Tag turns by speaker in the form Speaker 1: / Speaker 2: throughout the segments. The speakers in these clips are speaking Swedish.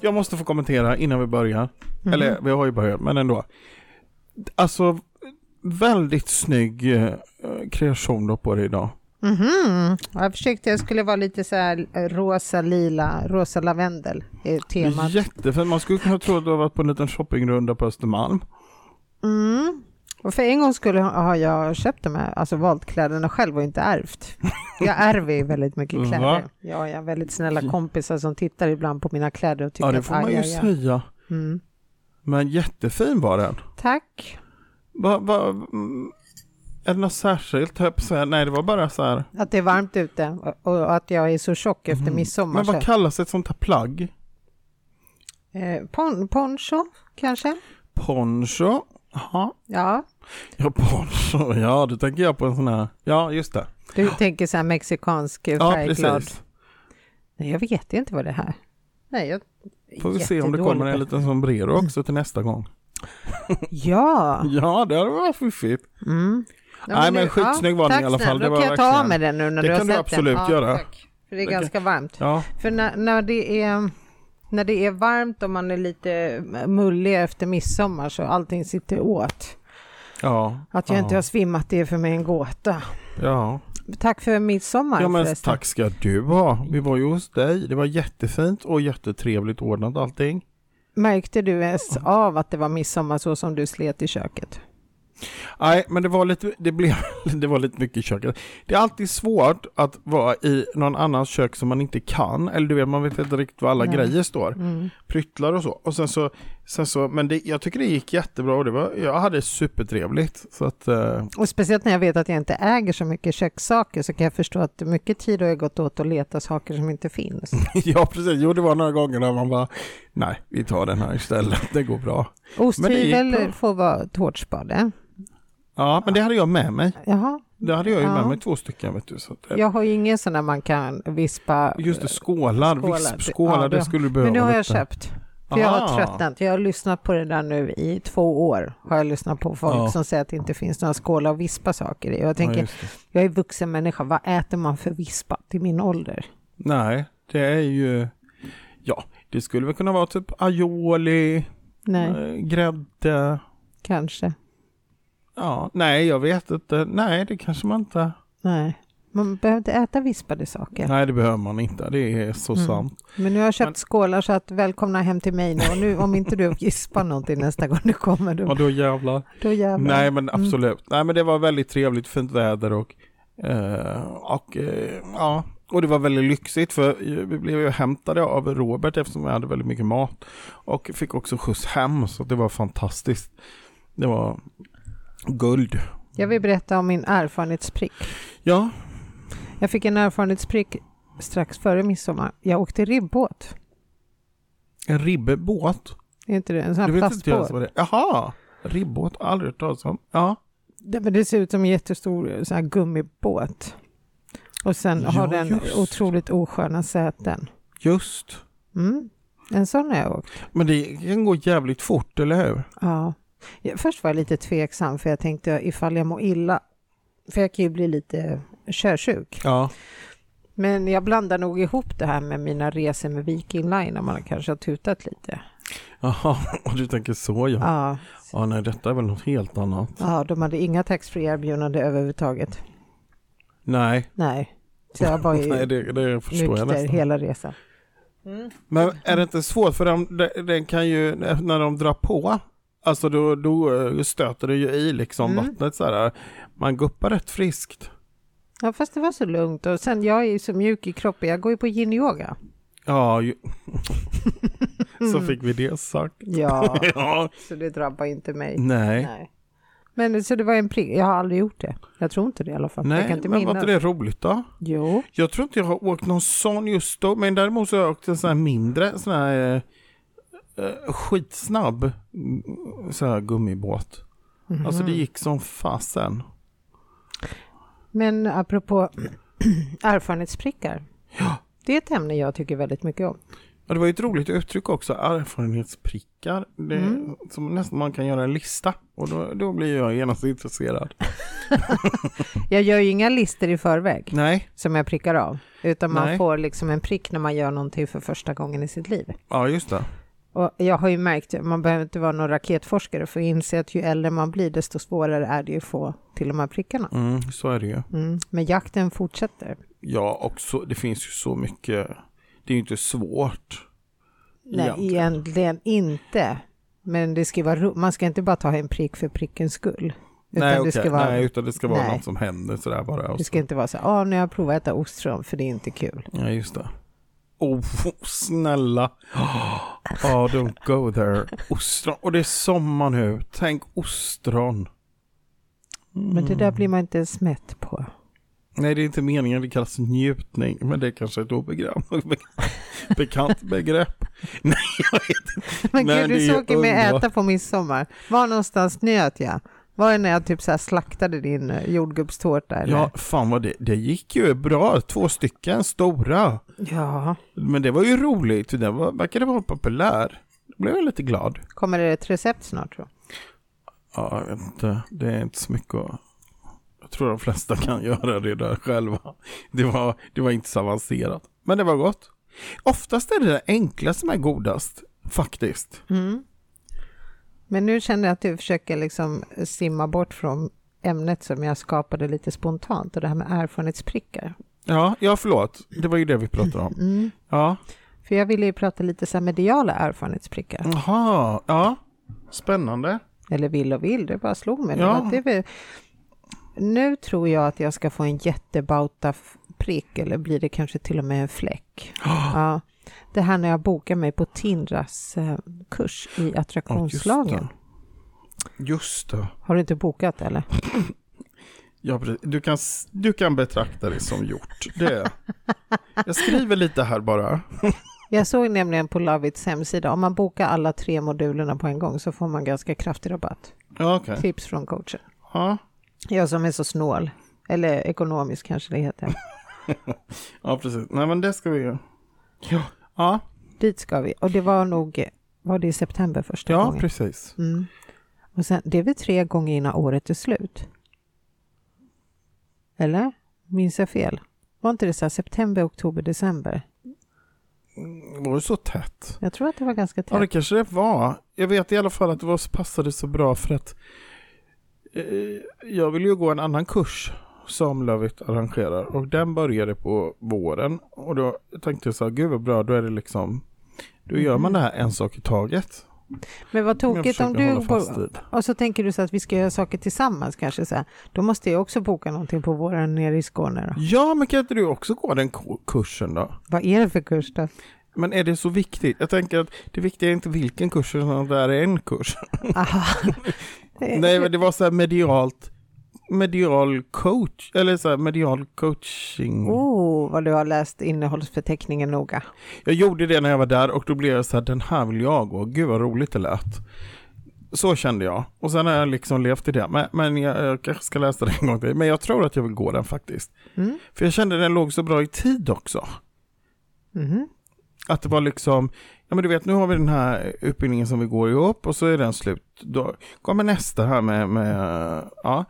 Speaker 1: Jag måste få kommentera innan vi börjar. Eller vi har ju börjat, men ändå. Alltså, väldigt snygg eh, kreation du har på dig idag.
Speaker 2: Mhm. Jag försökte jag skulle vara lite så här eh, rosa lila, rosa lavendel är temat.
Speaker 1: Jättefint. Man skulle kunna tro att du har varit på en liten shoppingrunda på Östermalm.
Speaker 2: Mm. Och för en gång skulle har jag köpt de här, alltså valt kläderna själv och inte ärvt. Jag ärver ju väldigt mycket
Speaker 1: Va?
Speaker 2: kläder. Ja, jag har väldigt snälla kompisar som tittar ibland på mina kläder och tycker
Speaker 1: Ja, det
Speaker 2: att
Speaker 1: får man ju
Speaker 2: aj, aj.
Speaker 1: säga.
Speaker 2: Mm.
Speaker 1: Men jättefin var den.
Speaker 2: Tack.
Speaker 1: Va, va, mm, är det något särskilt? höll jag på att säga? Nej, det var bara så här.
Speaker 2: Att det är varmt ute och- och att jag är så tjock efter midsommar.
Speaker 1: Mm. Men
Speaker 2: så-
Speaker 1: vad kallas ett sånt här plagg?
Speaker 2: Eh, pon, poncho kanske?
Speaker 1: Poncho? Jaha.
Speaker 2: Ja,
Speaker 1: Ja, poncho. Ja, då tänker jag på en sån här. Ja, just det.
Speaker 2: du tänker så här mexikansk eh,
Speaker 1: Ja,
Speaker 2: färgglad.
Speaker 1: precis.
Speaker 2: Nej, jag vet inte vad det här. Nej, jag...
Speaker 1: Får vi se om det
Speaker 2: Jättedålig
Speaker 1: kommer
Speaker 2: på-
Speaker 1: en liten sombrero också till nästa gång.
Speaker 2: Ja.
Speaker 1: Ja, det hade varit fiffigt.
Speaker 2: Mm.
Speaker 1: Nej, men
Speaker 2: nu-
Speaker 1: skitsnygg var den
Speaker 2: tack
Speaker 1: i alla fall.
Speaker 2: snälla.
Speaker 1: Det
Speaker 2: Då
Speaker 1: var
Speaker 2: kan jag ta
Speaker 1: verkligen-
Speaker 2: av mig den nu när
Speaker 1: Det
Speaker 2: du har
Speaker 1: kan du
Speaker 2: släppt den.
Speaker 1: absolut göra.
Speaker 2: Tack. För det är
Speaker 1: Det kan-
Speaker 2: ganska varmt.
Speaker 1: Ja,
Speaker 2: För när, när, det är, när det är varmt och man är lite mullig efter midsommar så allting sitter åt.
Speaker 1: ja.
Speaker 2: Att jag
Speaker 1: ja,
Speaker 2: inte har svimmat det är för mig en gåta.
Speaker 1: Ja,
Speaker 2: Tack för midsommar
Speaker 1: ja men
Speaker 2: förresten.
Speaker 1: tack ska du ha. Vi var ju hos dig. Det var jättefint och jättetrevligt ordnat allting.
Speaker 2: Märkte du ens av att det var midsommar så som du slet i köket?
Speaker 1: Nej, men det var lite, det blev, det var lite mycket i köket. Det är alltid svårt att vara i någon annans kök som man inte kan, eller du vet, man vet inte riktigt var alla
Speaker 2: Nej.
Speaker 1: grejer står.
Speaker 2: Mm.
Speaker 1: Pryttlar och så. Och sen så, sen så men det, jag tycker det gick jättebra och det var, jag hade supertrevligt. Så att, eh,
Speaker 2: Och speciellt när jag vet att jag inte äger så mycket kökssaker så kan jag förstå att mycket tid har jag gått åt att leta saker som inte finns.
Speaker 1: ja precis, jo det var några gånger när man bara, nej, vi tar den här istället, det går bra. bra.
Speaker 2: Osthyvel får vara ett hårt spade.
Speaker 1: Ja, men det hade jag med mig.
Speaker 2: Jaha,
Speaker 1: Det hade jag ju med
Speaker 2: Ja.
Speaker 1: mig två stycken, vet du. Så att, eh,
Speaker 2: jag har ju ingen sån där man kan vispa.
Speaker 1: Just det, skålar,
Speaker 2: Skålar.
Speaker 1: vispskålar,
Speaker 2: Ja,
Speaker 1: det
Speaker 2: det-
Speaker 1: skulle du behöva.
Speaker 2: Men nu har jag
Speaker 1: lite. Ah.
Speaker 2: köpt. För jag har
Speaker 1: Aha.
Speaker 2: tröttnat. Jag har lyssnat på det där nu i två år. Har jag lyssnat på folk
Speaker 1: Ja.
Speaker 2: som säger att det inte finns några skålar att vispa saker i. Och Jag
Speaker 1: Ja,
Speaker 2: tänker,
Speaker 1: just det.
Speaker 2: jag är vuxen människa. Vad äter man för vispa till min ålder?
Speaker 1: Nej, det är ju... Ja, det skulle väl kunna vara typ aioli,
Speaker 2: Nej,
Speaker 1: eh, grädde.
Speaker 2: kanske.
Speaker 1: Ja, nej, jag vet inte. Nej, det kanske man inte...
Speaker 2: Nej, man behöver inte äta vispade saker.
Speaker 1: Nej, det behöver man inte. Det är så
Speaker 2: Mm.
Speaker 1: sant.
Speaker 2: Men nu har jag köpt
Speaker 1: Men-
Speaker 2: skålar så att välkomna hem till mig nu. Och nu om inte du vispar någonting nästa gång du kommer,
Speaker 1: Ja,
Speaker 2: då,
Speaker 1: då jävlar.
Speaker 2: då jävlar.
Speaker 1: Nej, men
Speaker 2: Mm.
Speaker 1: absolut. Nej, men det var väldigt trevligt, fint väder och... eh, och eh, ja, och det var väldigt lyxigt för vi blev ju hämtade av Robert eftersom vi hade väldigt mycket mat. Och fick också skjuts hem, så det var fantastiskt. Det var guld.
Speaker 2: Jag vill berätta om min erfarenhetsprick.
Speaker 1: Ja,
Speaker 2: Jag fick en erfarenhetsprick strax före midsommar. Jag åkte ribbåt.
Speaker 1: En ribbåt?
Speaker 2: Är inte det en sån
Speaker 1: Du
Speaker 2: här
Speaker 1: vet inte ens
Speaker 2: plastbåt?
Speaker 1: vad det är? Jaha! Ribbåt, aldrig hört talas om. Ja.
Speaker 2: Det, men det ser ut som en jättestor eh, sån här gummibåt. Och sen
Speaker 1: Ja,
Speaker 2: har den
Speaker 1: just.
Speaker 2: otroligt osköna säten.
Speaker 1: Just.
Speaker 2: Mm. En sån har jag åkt.
Speaker 1: Men det kan gå jävligt fort, eller hur?
Speaker 2: Ja. Ja, Först var jag lite tveksam för jag tänkte ifall jag mår illa. För jag kan ju bli lite körsjuk.
Speaker 1: Ja.
Speaker 2: Men jag blandar nog ihop det här med mina resor med Viking Line när man kanske har tutat lite.
Speaker 1: Jaha, och du tänker så ja.
Speaker 2: Ja,
Speaker 1: Ja, nej, detta är väl något helt annat.
Speaker 2: ja de hade inga taxfree erbjudanden överhuvudtaget.
Speaker 1: Nej,
Speaker 2: Nej, så jag var ju
Speaker 1: nej det, det förstår jag
Speaker 2: nykter
Speaker 1: nästan.
Speaker 2: hela resan.
Speaker 1: Men är det inte svårt, för de, de- den kan ju, när de drar på, alltså då, då eh, stöter det ju i liksom
Speaker 2: Mm.
Speaker 1: vattnet så här. Man guppar rätt friskt.
Speaker 2: Ja, fast det var så lugnt. Och sen, jag är ju så mjuk i kroppen. Jag går ju på yin-yoga.
Speaker 1: Ja, ju. så fick vi det sagt.
Speaker 2: Mm. Ja,
Speaker 1: Ja,
Speaker 2: så det drabbar inte mig.
Speaker 1: nej.
Speaker 2: Nej. Men så det var en prick. Jag har aldrig gjort det. Jag tror inte det i alla fall. jag
Speaker 1: Nej,
Speaker 2: kan inte
Speaker 1: men var
Speaker 2: minnas.
Speaker 1: inte det roligt då?
Speaker 2: Jo,
Speaker 1: Jag tror inte jag har åkt någon sån just då, men däremot så har jag åkt en sån här mindre, sån här eh, eh, skitsnabb mm, sån här gummibåt. Alltså
Speaker 2: Mm-hmm.
Speaker 1: det gick som fasen.
Speaker 2: men apropå erfarenhetsprickar. Det är ett ämne jag tycker väldigt mycket om.
Speaker 1: Ja, det var ju ett roligt uttryck också, erfarenhetsprickar. Det, är
Speaker 2: Mm.
Speaker 1: Som nästan man kan göra en lista och då, då blir jag genast intresserad.
Speaker 2: Jag gör ju inga listor i förväg
Speaker 1: Nej,
Speaker 2: som jag prickar av, utan man
Speaker 1: Nej.
Speaker 2: får liksom en prick när man gör någonting för första gången i sitt liv.
Speaker 1: ja just det.
Speaker 2: Och jag har ju märkt, man behöver inte vara någon raketforskare för att inse att ju äldre man blir, desto svårare är det ju att få till de här prickarna.
Speaker 1: Mm, så är det ju.
Speaker 2: Mm. Men jakten fortsätter.
Speaker 1: Ja, och så, det finns ju så mycket. Det är ju inte svårt.
Speaker 2: Nej,
Speaker 1: Egentligen.
Speaker 2: egentligen inte. Men det ska vara, ro- man ska inte bara ta en prick för prickens skull. Utan
Speaker 1: nej,
Speaker 2: det
Speaker 1: okej.
Speaker 2: ska vara,
Speaker 1: nej, utan det ska vara
Speaker 2: Nej.
Speaker 1: något som händer sådär bara. Och
Speaker 2: det
Speaker 1: så.
Speaker 2: ska inte vara så ah, nu har jag provat att äta ostron, för det är inte kul.
Speaker 1: Ja, just det. Oh, snälla. Oh, don't go there. Ostron. Och det är sommar nu. Tänk ostron.
Speaker 2: Men det
Speaker 1: Mm.
Speaker 2: där blir man inte ens mätt på.
Speaker 1: Nej, det är inte meningen. Det kallas njutning. Men det är kanske ett obegrepp. Bekant begrepp. Nej, jag vet inte.
Speaker 2: Men
Speaker 1: Nej,
Speaker 2: gud, du
Speaker 1: det är
Speaker 2: såg ju mig
Speaker 1: underbart.
Speaker 2: äta på midsommar. Var någonstans njöt jag? Var det när jag typ så här slaktade din eh, jordgubbstårta? Eller?
Speaker 1: Ja, fan vad det, det gick ju bra. Två stycken stora.
Speaker 2: ja.
Speaker 1: Men det var ju roligt. Den var, verkade vara populär. Då blev jag lite glad.
Speaker 2: Kommer det ett recept snart tror
Speaker 1: Ja, jag vet inte. Det är inte så mycket att... Jag tror de flesta kan göra det där själva. Det var, det var inte så avancerat. Men det var gott. Oftast är det det enkla som är godast. Faktiskt.
Speaker 2: jag. Mm. Men nu känner jag att du försöker liksom simma bort från ämnet som jag skapade lite spontant och det här med erfarenhetsprickar.
Speaker 1: Ja, ja förlåt. Det var ju det vi pratade om.
Speaker 2: Mm.
Speaker 1: Ja.
Speaker 2: För jag ville ju prata lite så här mediala erfarenhetsprickar.
Speaker 1: Jaha, ja. Spännande.
Speaker 2: Eller vill och vill, det bara slog mig. nu
Speaker 1: Ja.
Speaker 2: Att det är väl... Nu tror jag att jag ska få en jättebauta f- prick, eller blir det kanske till och med en fläck. Ja. Det här när jag bokar mig på Tindras eh, kurs i
Speaker 1: Ja, just
Speaker 2: attraktionslagen.
Speaker 1: det. Just det.
Speaker 2: Har du inte bokat eller?
Speaker 1: Ja, precis. du, kan, s- du kan betrakta det som gjort. Det. Jag skriver lite här bara.
Speaker 2: Jag såg nämligen på Lovits hemsida, om man bokar alla tre modulerna på en gång så får man ganska kraftig rabatt.
Speaker 1: Ja, okej.
Speaker 2: Tips från coachen.
Speaker 1: Ja.
Speaker 2: Jag som är så snål, eller ekonomisk kanske det heter.
Speaker 1: ja, precis. Nej, men det ska vi göra. Ja. Ja,
Speaker 2: Dit ska vi, och det var nog, var det i september första
Speaker 1: ja
Speaker 2: gången?
Speaker 1: precis.
Speaker 2: Mm. Och sen, det är väl tre gånger innan året är slut? Eller? Minns jag fel? Var inte det så här september, oktober, december?
Speaker 1: Var det så tätt?
Speaker 2: Jag tror att det var ganska
Speaker 1: Ja, det
Speaker 2: tätt.
Speaker 1: kanske det var. Jag vet i alla fall att det var, passade så bra för att eh, jag vill ju gå en annan kurs som Lövit arrangerar och den började på våren och då tänkte jag så här, gud vad bra, då är det liksom, då gör man det här en sak i taget.
Speaker 2: Men vad
Speaker 1: Jag
Speaker 2: Mm. tokigt om
Speaker 1: försöker
Speaker 2: du...
Speaker 1: hålla fast vid.
Speaker 2: Och så tänker du så att vi ska göra saker tillsammans kanske så här. Då måste jag också boka någonting på våren nere i Skåne då.
Speaker 1: Ja, men kan inte du också gå den ko- kursen då?
Speaker 2: Vad är det för kurs då?
Speaker 1: Men är det så viktigt? Jag tänker att det viktiga är inte vilken kurs, utan att det här är en kurs.
Speaker 2: Aha. Eh,
Speaker 1: Nej, men det var så här medialt, medial coach, eller så här medial coaching.
Speaker 2: Oh, vad du har läst innehållsförteckningen noga.
Speaker 1: Jag gjorde det när jag var där och då blev jag så här, den här vill jag gå, gud vad roligt det lät. Så kände jag. Och sen har jag liksom levt i det. Men, men jag, jag kanske ska läsa det en gång till. Men jag tror att jag vill gå den faktiskt.
Speaker 2: Mm.
Speaker 1: För jag kände den låg så bra i tid också.
Speaker 2: Mhm.
Speaker 1: Att det var liksom, ja men du vet nu har vi den här utbildningen som vi går ihop och så är den slut. Då kommer nästa här med, med ja,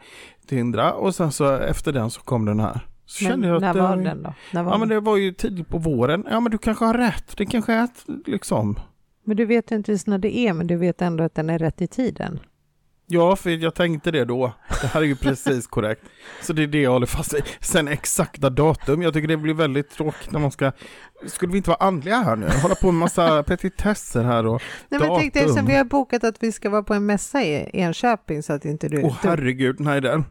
Speaker 1: Tindra och sen så efter den så kom den här. Så
Speaker 2: Men
Speaker 1: kände jag att
Speaker 2: när
Speaker 1: det-
Speaker 2: var den då? När var
Speaker 1: Ja men
Speaker 2: den?
Speaker 1: det var ju tidigt på våren. Ja men du kanske har rätt. Det kanske är ett, liksom.
Speaker 2: men du vet ju inte ens när det är, men du vet ändå att den är rätt i tiden.
Speaker 1: Ja för jag tänkte det då. Det här är ju precis korrekt. Så det är det jag håller fast vid. Sen exakta datum. Jag tycker det blir väldigt tråkigt när man ska. Skulle vi inte vara andliga här nu? Hålla på med massa petitesser här och
Speaker 2: Nej, men tänk dig,
Speaker 1: Datum.
Speaker 2: eftersom vi har bokat att vi ska vara på en mässa i Enköping så att inte du...
Speaker 1: Åh herregud, nej den.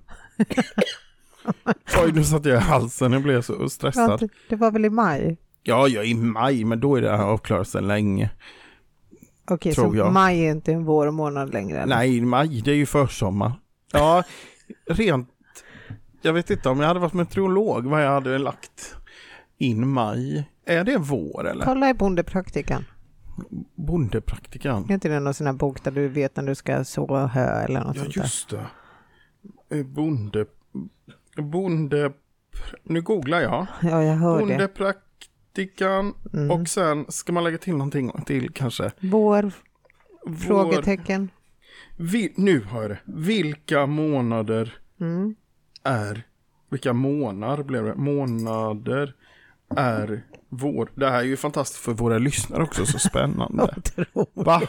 Speaker 1: Oj, nu satte jag i halsen, nu blev jag så
Speaker 2: Ja,
Speaker 1: stressad.
Speaker 2: det- det var väl i maj?
Speaker 1: Ja, jag är i maj, men då är det här avklarat sedan länge.
Speaker 2: Okej,
Speaker 1: Tror
Speaker 2: så
Speaker 1: jag.
Speaker 2: maj är inte en vårmånad längre? eller?
Speaker 1: Nej, maj, det är ju försommar. Ja, rent... Jag vet inte, om jag hade varit meteorolog, vad jag hade lagt in maj. Är det vår eller?
Speaker 2: Kolla i Bondepraktikan.
Speaker 1: Bondepraktikan.
Speaker 2: Är inte det någon sån här bok där du vet när du ska så hö eller något
Speaker 1: Ja,
Speaker 2: sånt där?
Speaker 1: just det. Eh, Bonde... Bonde... Nu googlar jag.
Speaker 2: Ja, jag hör det.
Speaker 1: Bondepraktikan. Vatikan
Speaker 2: Mm.
Speaker 1: och sen ska man lägga till någonting till kanske.
Speaker 2: Vår?
Speaker 1: Vår-
Speaker 2: Frågetecken?
Speaker 1: Vi, nu har jag det. Vilka månader
Speaker 2: Mm.
Speaker 1: är, vilka månader blev det? Månader är vår. Det här är ju fantastiskt för våra lyssnare också, så spännande.
Speaker 2: Otroligt.
Speaker 1: Va?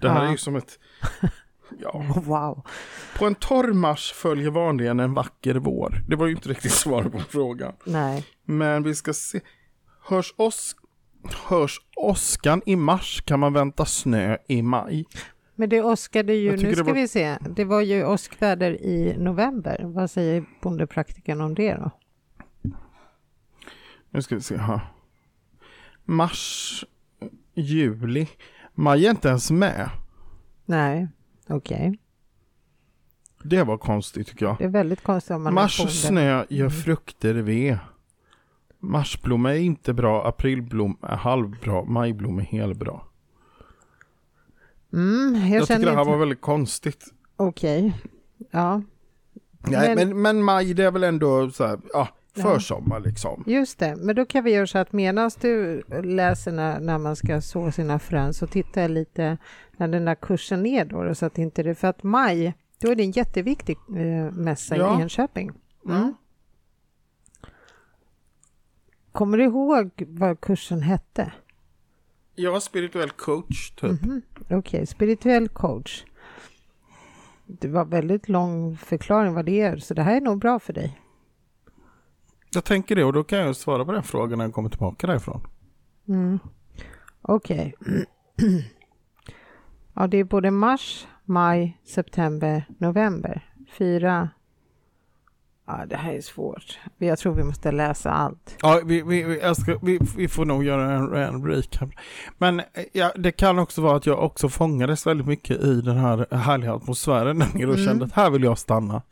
Speaker 1: Det här är
Speaker 2: Ja.
Speaker 1: ju som ett, ja.
Speaker 2: Wow.
Speaker 1: På en torr mars följer vanligen en vacker vår. Det var ju inte riktigt svar på frågan.
Speaker 2: Nej.
Speaker 1: Men vi ska se. Hörs, os- hörs åskan i mars kan man vänta snö i maj.
Speaker 2: Men det åskade ju,
Speaker 1: Jag tycker
Speaker 2: nu
Speaker 1: det
Speaker 2: ska
Speaker 1: var-
Speaker 2: vi se, det var ju åskväder i november. Vad säger bondepraktiken om det då?
Speaker 1: Nu ska vi se här. Mars, juli. Maj är inte ens med.
Speaker 2: Nej, okej.
Speaker 1: Det var konstigt tycker jag.
Speaker 2: Det är väldigt konstigt om man är Mm.
Speaker 1: Mars och
Speaker 2: bonde.
Speaker 1: snö gör frukter ve. Marsblomma är inte bra, aprilblom är halvbra, majblom är helbra.
Speaker 2: Mm, jag,
Speaker 1: Jag, tycker
Speaker 2: känner
Speaker 1: det här
Speaker 2: inte...
Speaker 1: var väldigt konstigt.
Speaker 2: Okej. Ja,
Speaker 1: Nej,
Speaker 2: Men-
Speaker 1: men, men, maj det är väl ändå så här, ja,
Speaker 2: Ja.
Speaker 1: försommar liksom.
Speaker 2: just det. Men då kan vi göra så att medan du läser när, när man ska så sina frön så tittar jag lite när den där kursen är då. då, Så att inte det, för att maj, då är det en jätteviktig eh, mässa
Speaker 1: Ja.
Speaker 2: i Enköping.
Speaker 1: Mm.
Speaker 2: Kommer du ihåg vad kursen hette?
Speaker 1: Jag var spirituell coach typ.
Speaker 2: Okej, spirituell coach. Det var väldigt lång förklaring vad det är, så det här är nog bra för dig.
Speaker 1: Jag tänker det och då kan jag svara på den frågan när jag kommer tillbaka därifrån.
Speaker 2: Okej. ja, det är både mars, maj, september, november. Fyra... Ja, det här är svårt. Jag tror vi måste läsa allt.
Speaker 1: Ja, vi, vi, vi, jag ska, vi, vi får nog göra en, en recap. Men eh, ja, det kan också vara att jag också fångades väldigt mycket i den här härliga atmosfären där nere och
Speaker 2: Mm.
Speaker 1: kände att här vill jag stanna.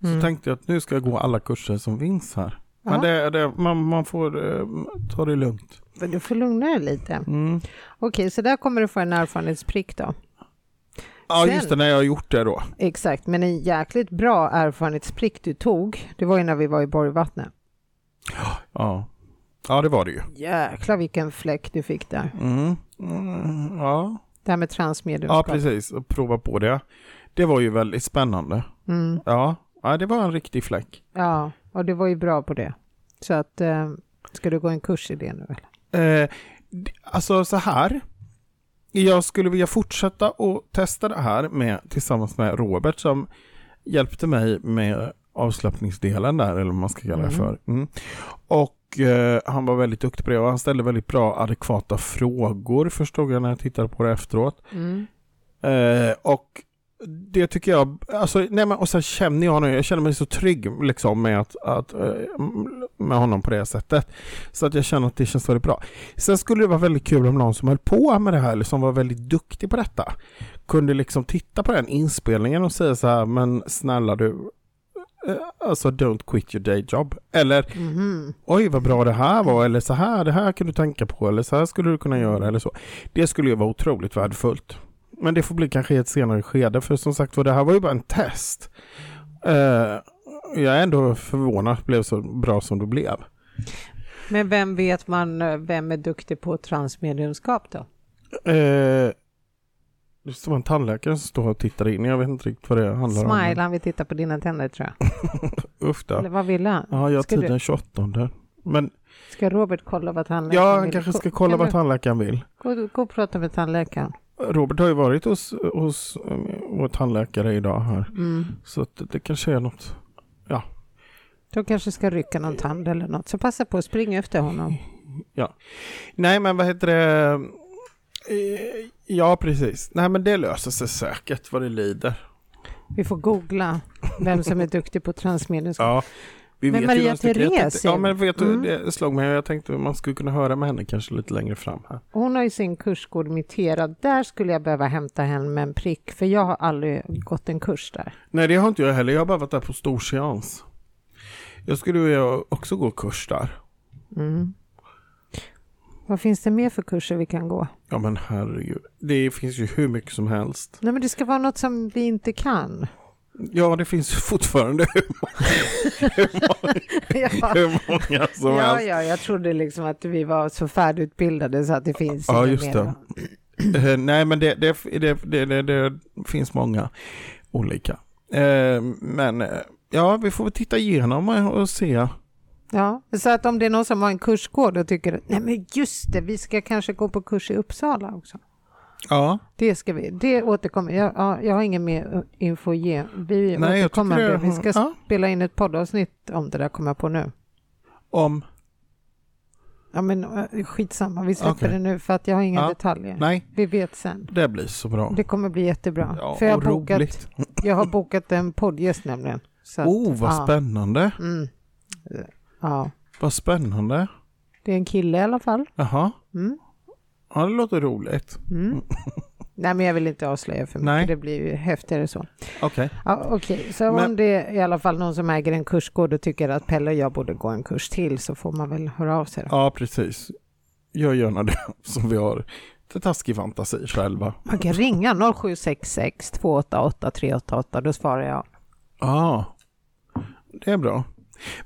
Speaker 1: Så
Speaker 2: Mm.
Speaker 1: tänkte jag att nu ska jag gå alla kurser som finns här. Men
Speaker 2: Ja.
Speaker 1: det, det, man, man får eh, ta det lugnt.
Speaker 2: Men du får lugna dig lite.
Speaker 1: Mm.
Speaker 2: Okej, så där kommer du få en erfarenhetsprick då.
Speaker 1: Ja,
Speaker 2: Sen-
Speaker 1: just det, när jag har gjort det då.
Speaker 2: Exakt, men en jäkligt bra erfarenhetsprick du tog, det var ju när vi var i Borgvattnet.
Speaker 1: Ja, ja det var det ju.
Speaker 2: Jäklar vilken fläck du fick där.
Speaker 1: Mm. Mm, ja.
Speaker 2: Det här med transmediumskap.
Speaker 1: ja, precis. Och prova på det. Det var ju väldigt spännande.
Speaker 2: Mm,
Speaker 1: Ja, ja det var en riktig fläck.
Speaker 2: ja, och du var ju bra på det. Så att, eh, ska du gå en kurs i det nu? Eller?
Speaker 1: Eh, d- alltså så här. Jag skulle vilja fortsätta och testa det här med, tillsammans med Robert som hjälpte mig med avslappningsdelen där, eller vad man ska kalla det
Speaker 2: Mm.
Speaker 1: för. Mm. Och eh, han var väldigt duktig på det och han ställde väldigt bra adekvata frågor förstod jag när jag tittade på det efteråt. Eh, och det tycker jag, alltså, nej men, och sen känner jag honom, jag känner mig så trygg liksom med, att, att, eh, med honom på det sättet. Så att jag känner att det känns väldigt bra. Sen skulle det vara väldigt kul om någon som höll på med det här, eller som var väldigt duktig på detta, kunde liksom titta på den inspelningen och säga så här, men snälla du, eh, alltså don't quit your day job. Eller
Speaker 2: Mhm.
Speaker 1: oj vad bra det här var, eller så här, det här kan du tänka på, eller så här skulle du kunna göra, eller så. Det skulle ju vara otroligt värdefullt. Men det får bli kanske i ett senare skede, för som sagt var, det här var ju bara en test. Eh, jag är ändå förvånad att det blev så bra som det blev.
Speaker 2: Men vem vet man, eh, vem är duktig på transmediumskap då?
Speaker 1: Eh, det var en tandläkare som stod och tittade in, jag vet inte riktigt vad det handlar
Speaker 2: Smile,
Speaker 1: om.
Speaker 2: han vill titta på dina tänder tror jag.
Speaker 1: Uff då.
Speaker 2: Eller vad vill han?
Speaker 1: Ja, jag har
Speaker 2: Ska du-
Speaker 1: tid den 28. Men
Speaker 2: Ska Robert kolla vad tandläkaren
Speaker 1: ja, han
Speaker 2: vill?
Speaker 1: kanske
Speaker 2: Gå-
Speaker 1: ska kolla
Speaker 2: kan
Speaker 1: vad
Speaker 2: du-
Speaker 1: tandläkaren vill.
Speaker 2: Gå, gå och prata med tandläkaren.
Speaker 1: Robert har ju varit hos, hos eh, vår tandläkare idag här.
Speaker 2: Mm.
Speaker 1: Så att det, det kanske är något.
Speaker 2: De kanske ska rycka någon tand eller något, så passa på att springa efter honom.
Speaker 1: Nej, men vad heter det? Eh, Ja, precis. Nej, men det löser sig säkert vad det lider.
Speaker 2: Vi får googla vem som är duktig på transmediumskap.
Speaker 1: Ja, vi
Speaker 2: Men
Speaker 1: ju
Speaker 2: Maria
Speaker 1: några stycken. Jag tänkte-
Speaker 2: Therese-
Speaker 1: Ja, men vet du,
Speaker 2: Mm.
Speaker 1: det slog mig. Jag tänkte man skulle kunna höra med henne kanske lite längre fram här.
Speaker 2: Hon har ju sin kursgård mitterad. Där skulle jag behöva hämta hem en prick, för jag har aldrig gått en kurs där.
Speaker 1: Nej, det har inte jag heller. Jag har bara varit där på stor seans. Jag skulle vilja också gå kurs där.
Speaker 2: Mm. Vad finns det mer för kurser vi kan gå?
Speaker 1: Ja, men herregud. Det finns ju hur mycket som helst.
Speaker 2: Nej, men det ska vara något som vi inte kan.
Speaker 1: Ja, det finns fortfarande hur många,
Speaker 2: ja.
Speaker 1: hur många som
Speaker 2: ja,
Speaker 1: helst.
Speaker 2: ja, jag trodde liksom att vi var så färdigutbildade så att det finns
Speaker 1: Ja,
Speaker 2: inget
Speaker 1: just
Speaker 2: mer.
Speaker 1: det. Eh, Nej, men det, det, det, det, det, det finns många olika. Eh, Men eh, ja, vi får väl titta igenom och se.
Speaker 2: Ja, så att om det är någon som har en kursgård och tycker nej men just det, vi ska kanske gå på kurs i Uppsala också.
Speaker 1: Ja,
Speaker 2: Det ska vi, det återkommer, jag, ja, jag har ingen mer info att ge. Vi
Speaker 1: Nej, jag
Speaker 2: återkommer,
Speaker 1: tycker
Speaker 2: med.
Speaker 1: det-
Speaker 2: vi ska
Speaker 1: ja.
Speaker 2: spela in ett poddavsnitt om det där kommer jag på nu.
Speaker 1: om,
Speaker 2: Ja men eh, skitsamma, vi släpper
Speaker 1: Okej.
Speaker 2: det nu för att jag har inga
Speaker 1: Ja.
Speaker 2: detaljer.
Speaker 1: nej,
Speaker 2: Vi vet sen.
Speaker 1: det blir så bra.
Speaker 2: Det kommer bli jättebra.
Speaker 1: Ja,
Speaker 2: för jag har,
Speaker 1: och
Speaker 2: bokat,
Speaker 1: roligt.
Speaker 2: jag har bokat en poddgäst nämligen. Så att,
Speaker 1: Oh, vad
Speaker 2: ja.
Speaker 1: spännande.
Speaker 2: Mm. Ja,
Speaker 1: Vad spännande.
Speaker 2: det är en kille i alla fall.
Speaker 1: Jaha.
Speaker 2: Mm.
Speaker 1: Ja, det låter roligt.
Speaker 2: Mm. Nej, men jag vill inte avslöja för mycket.
Speaker 1: Nej.
Speaker 2: Det blir ju häftigare så.
Speaker 1: Okej.
Speaker 2: Ja, Okej, så
Speaker 1: Men-
Speaker 2: om det är i alla fall någon som äger en kursgård och tycker att Pelle och jag borde gå en kurs till så får man väl höra av sig. Då.
Speaker 1: Ja, precis. Gör gärna det som vi har till taskig fantasi själva.
Speaker 2: Man kan ringa 0766 288 388, då svarar jag.
Speaker 1: Ja, det är bra.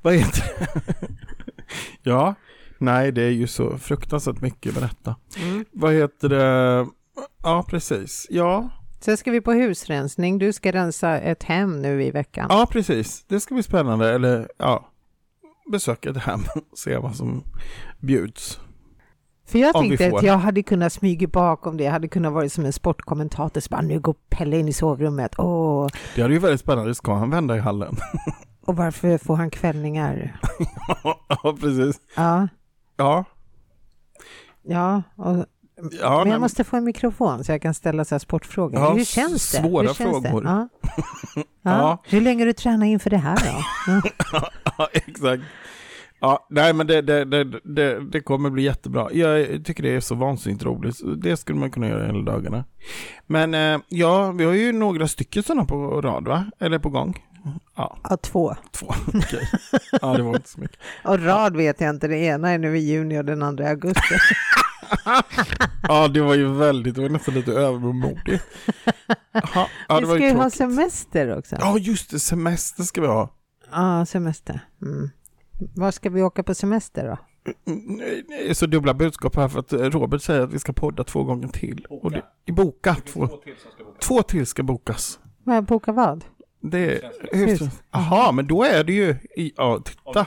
Speaker 1: Vad heter Ja, nej, det är ju så fruktansvärt mycket att berätta.
Speaker 2: Mm.
Speaker 1: Vad heter det? Ja, precis. Ja,
Speaker 2: Sen ska vi på husrensning, du ska rensa ett hem nu i veckan.
Speaker 1: ja precis. Det ska bli spännande. Eller ja, besöka ett hem och se vad som bjuds.
Speaker 2: För jag
Speaker 1: Om vi
Speaker 2: tänkte
Speaker 1: får.
Speaker 2: att jag hade kunnat smyga bakom det, jag hade kunnat vara som en sportkommentator, så bara nu går Pelle in i sovrummet, åh,
Speaker 1: Det är ju väldigt spännande. Ska han vända i hallen?
Speaker 2: och varför får han kvällningar?
Speaker 1: ja, precis.
Speaker 2: Ja,
Speaker 1: Ja,
Speaker 2: ja, och
Speaker 1: ja
Speaker 2: men
Speaker 1: nej,
Speaker 2: jag måste få en mikrofon så jag kan ställa så här sportfrågor.
Speaker 1: Ja,
Speaker 2: Hur känns det?
Speaker 1: svåra
Speaker 2: Hur känns
Speaker 1: frågor.
Speaker 2: Det? Ja. Ja.
Speaker 1: Ja.
Speaker 2: Hur länge har du tränat inför det här då? Ja.
Speaker 1: Ja, exakt. Ja, nej men det, det, det, det, det kommer bli jättebra. Jag tycker det är så vansinnigt roligt. Så Det skulle man kunna göra hela dagarna. Men eh, ja, vi har ju några stycken sådana på rad va? Eller på gång? Ja,
Speaker 2: Ja, två.
Speaker 1: två. Okej. Ja, det var inte så mycket.
Speaker 2: Och rad vet jag inte, det ena är nu i juni och den andra i augusti.
Speaker 1: Ja, det var ju väldigt, det var nästan lite övermodigt. Jaha, Ja,
Speaker 2: vi
Speaker 1: det var
Speaker 2: ska
Speaker 1: ju
Speaker 2: ju ha
Speaker 1: tråkigt.
Speaker 2: semester också.
Speaker 1: Ja, just det, semester ska vi ha.
Speaker 2: Ja, semester. Mm. Var ska vi åka på semester då?
Speaker 1: Mm, Det är så dubbla budskap här för att eh, Robert säger att vi ska podda två gånger till. Och det, boka två. Två till ska bokas.
Speaker 2: Men boka vad?
Speaker 1: Det är... Jaha, men då är det ju... i- Ja, titta.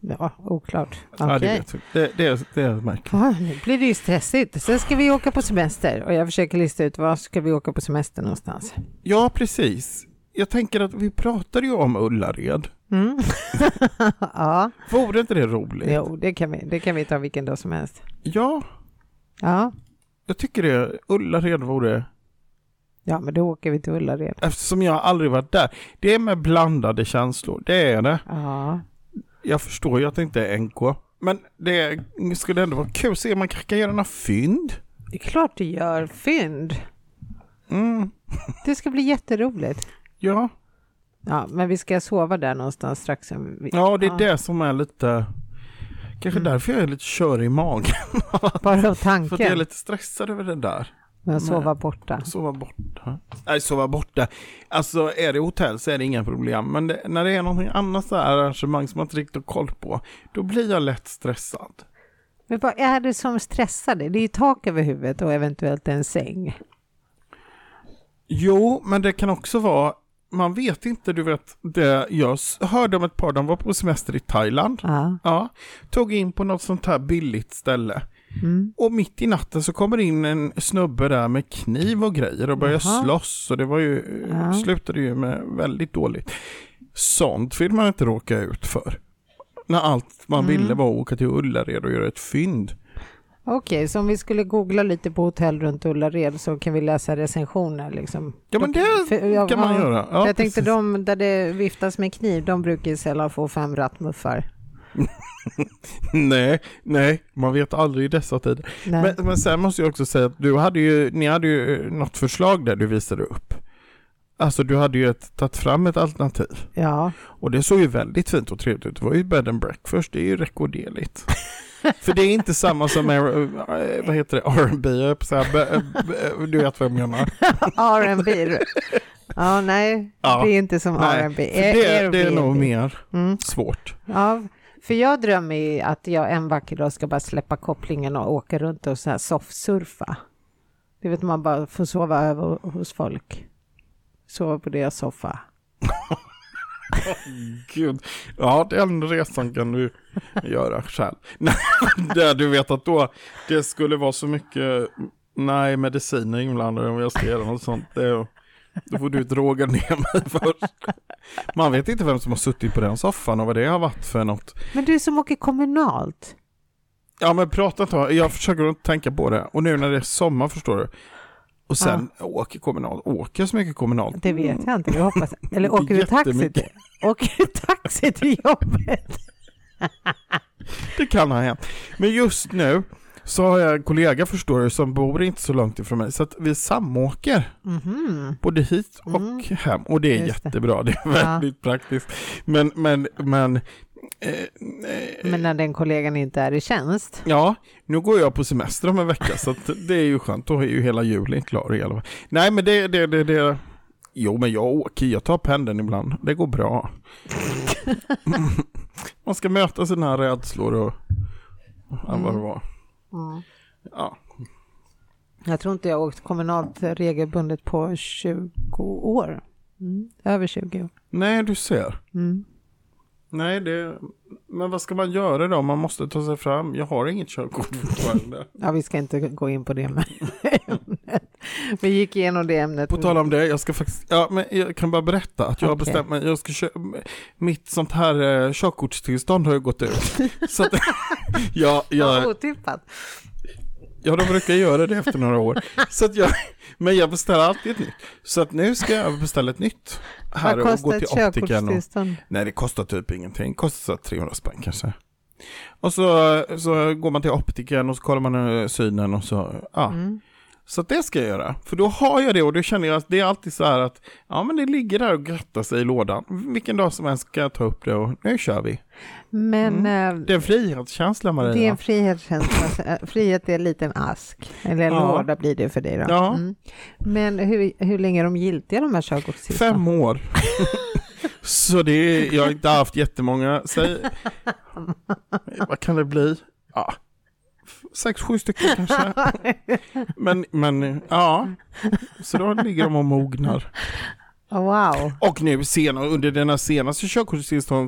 Speaker 2: Ja, oklart. Okej.
Speaker 1: Ja, det, vet vi. det, det, det är märkligt.
Speaker 2: Ja, nu blir det ju stressigt. Sen ska vi åka på semester och jag försöker lista ut var ska vi åka på semester någonstans.
Speaker 1: Ja, precis. Jag tänker att vi pratade ju om Ullared.
Speaker 2: Mm. ja,
Speaker 1: Vore inte det roligt?
Speaker 2: jo, det kan, vi, det kan vi ta vilken dag som helst.
Speaker 1: Ja,
Speaker 2: Ja,
Speaker 1: jag tycker det. Ullared vore...
Speaker 2: ja men då åker vi till Ullared.
Speaker 1: Eftersom jag aldrig varit där. Det är med blandade känslor, det är det.
Speaker 2: Ja,
Speaker 1: Jag förstår ju att det inte är NK. Men det skulle ändå vara kul att se om man kanske kan göra några fynd.
Speaker 2: det är klart du gör fynd.
Speaker 1: Mm,
Speaker 2: Det ska bli jätteroligt.
Speaker 1: ja.
Speaker 2: Ja, men vi ska sova där någonstans strax. som vi-
Speaker 1: ja, det är
Speaker 2: Ja. Mm.
Speaker 1: det som är lite... Kanske därför jag är lite körig i magen. För
Speaker 2: Bara av
Speaker 1: att jag är
Speaker 2: tanken
Speaker 1: lite stressad över det där.
Speaker 2: med att sova borta.
Speaker 1: Sova borta. Nej, sova borta. Alltså är det hotell så är det inga problem. Men det, när det är någonting annat så här arrangemang som man inte riktigt har koll på, då blir jag lätt stressad.
Speaker 2: Men vad är det som stressar dig? Det är ju tak över huvudet och eventuellt en säng.
Speaker 1: Jo, men det kan också vara, man vet inte, du vet, det, jag s- hörde om ett par, de var på semester i Thailand.
Speaker 2: Ja,
Speaker 1: Ja, tog in på något sånt här billigt ställe.
Speaker 2: mm.
Speaker 1: Och mitt i natten så kommer det in en snubbe där med kniv och grejer och börjar
Speaker 2: Jaha.
Speaker 1: slåss. Och det var ju,
Speaker 2: Ja.
Speaker 1: slutade ju med väldigt dåligt. Sånt vill man inte råka ut för. När allt man
Speaker 2: Mm.
Speaker 1: ville var att åka till Ullared och göra ett fynd.
Speaker 2: Okej, så om vi skulle googla lite på hotell runt Ullared så kan vi läsa recensioner liksom.
Speaker 1: Ja men
Speaker 2: Då-
Speaker 1: det
Speaker 2: för- ja,
Speaker 1: kan man
Speaker 2: ja.
Speaker 1: göra. Ja,
Speaker 2: jag tänkte
Speaker 1: precis.
Speaker 2: de där det viftas med kniv, de brukar ju sällan få fem rattmuffar.
Speaker 1: Nej, nej, man vet aldrig i dessa tider.
Speaker 2: Nej.
Speaker 1: Men, men sen måste jag också säga att du hade ju, ni hade ju något förslag där du visade upp. Alltså du hade ju ett, tagit fram ett alternativ.
Speaker 2: Ja,
Speaker 1: Och det såg ju väldigt fint och trevligt ut. Det var ju bed and breakfast, det är ju rekorderligt. För det är inte samma som, eh, eh, vad heter det, R&B, jag höll på att säga, be- eh, be- eh, du vet vad jag menar.
Speaker 2: R&B. Ja, nej,
Speaker 1: Ja.
Speaker 2: det är inte som
Speaker 1: Nej,
Speaker 2: R&B.
Speaker 1: För det, det är nog
Speaker 2: Airbnb.
Speaker 1: mer
Speaker 2: Mm.
Speaker 1: svårt.
Speaker 2: Ja, för jag drömmer ju att jag en vacker dag ska bara släppa kopplingen och åka runt och så här soffsurfa. Du vet, man bara får sova över hos folk. Sova på deras soffa.
Speaker 1: Gud. Ja, den resan kan du göra själv. Nej, Där du vet att då, det skulle vara så mycket, mm, nej, mediciner inblandade om jag ska göra något sånt. Det, då får du droga ner mig först. Man vet inte vem som har suttit på den soffan och vad det har varit för något.
Speaker 2: Men du som åker kommunalt.
Speaker 1: Ja men prata inte om- jag försöker inte tänka på det. Och nu när det är sommar förstår du. Och sen åker kommunalt, åker så mycket kommunalt.
Speaker 2: Det vet jag inte, jag hoppas. Eller åker du taxi?
Speaker 1: Jättemycket.
Speaker 2: till- Åker du taxi till jobbet?
Speaker 1: Det kan ha hänt. Men just nu så har jag en kollega förstår du som bor inte så långt ifrån mig så att vi samåker
Speaker 2: Mhm.
Speaker 1: både hit och
Speaker 2: Mm.
Speaker 1: hem och det är
Speaker 2: Just det.
Speaker 1: jättebra, det är
Speaker 2: Ja.
Speaker 1: väldigt praktiskt. Men, men, men, eh, eh,
Speaker 2: Men när den kollegan inte är i tjänst.
Speaker 1: ja, nu går jag på semester om en vecka så att det är ju skönt, då är ju hela julen klar i alla fall. Nej men det, det, det, det, jo men jag åker, jag tar pendeln ibland, det går bra. Man ska möta sina rädslor och, och vad det var.
Speaker 2: Mm.
Speaker 1: Ja.
Speaker 2: Jag tror inte jag har åkt kommunalt regelbundet på 20 år. Mm. Över 20 år.
Speaker 1: Nej, du ser.
Speaker 2: Mm.
Speaker 1: Nej, det... Men vad ska man göra då? Man måste ta sig fram. Jag har inget körkort fortfarande.
Speaker 2: Ja, vi ska inte gå in på det med ämnet. Vi gick igenom det ämnet.
Speaker 1: På tal om det, jag ska faktiskt... Ja, men jag kan bara berätta att jag har
Speaker 2: Okej.
Speaker 1: bestämt mig. Jag ska kö... Mitt sånt här eh, körkortstillstånd har ju gått ut. Så att... jag, jag,
Speaker 2: Ja, Otippat.
Speaker 1: Ja, de brukar göra det efter några år. Så att jag, men jag beställer alltid ett nytt. Så att nu ska jag beställa ett nytt. Här
Speaker 2: Vad
Speaker 1: och
Speaker 2: kostar
Speaker 1: gå till optikern.
Speaker 2: ett
Speaker 1: Och,
Speaker 2: körkortstillstånd?
Speaker 1: nej, det kostar typ ingenting. Kostar så här 300 spänn kanske. Och så, så går man till optikern och så kollar man eh, synen och så, ja.
Speaker 2: Mm.
Speaker 1: Så att det ska jag göra. För då har jag det och då känner jag att det är alltid så här att, ja men det ligger där och grattar sig i lådan. Vilken dag som helst ska jag ta upp det och nu kör vi.
Speaker 2: Men eh,
Speaker 1: Mm. Det är en frihetskänsla Maria.
Speaker 2: det är en frihetskänsla. Eh, Frihet är en liten ask. Eller en
Speaker 1: Ja.
Speaker 2: låda blir det för dig då.
Speaker 1: Ja.
Speaker 2: Mm. Men hur, hur länge är de giltiga de här körkortstillstånden?
Speaker 1: Fem år. så det är, jag har inte haft jättemånga, säg, vad kan det bli? Ja. f- Sex, sju stycken kanske. Men, men ja, så då ligger de och mognar.
Speaker 2: Oh, wow.
Speaker 1: Och nu senare, under den här senaste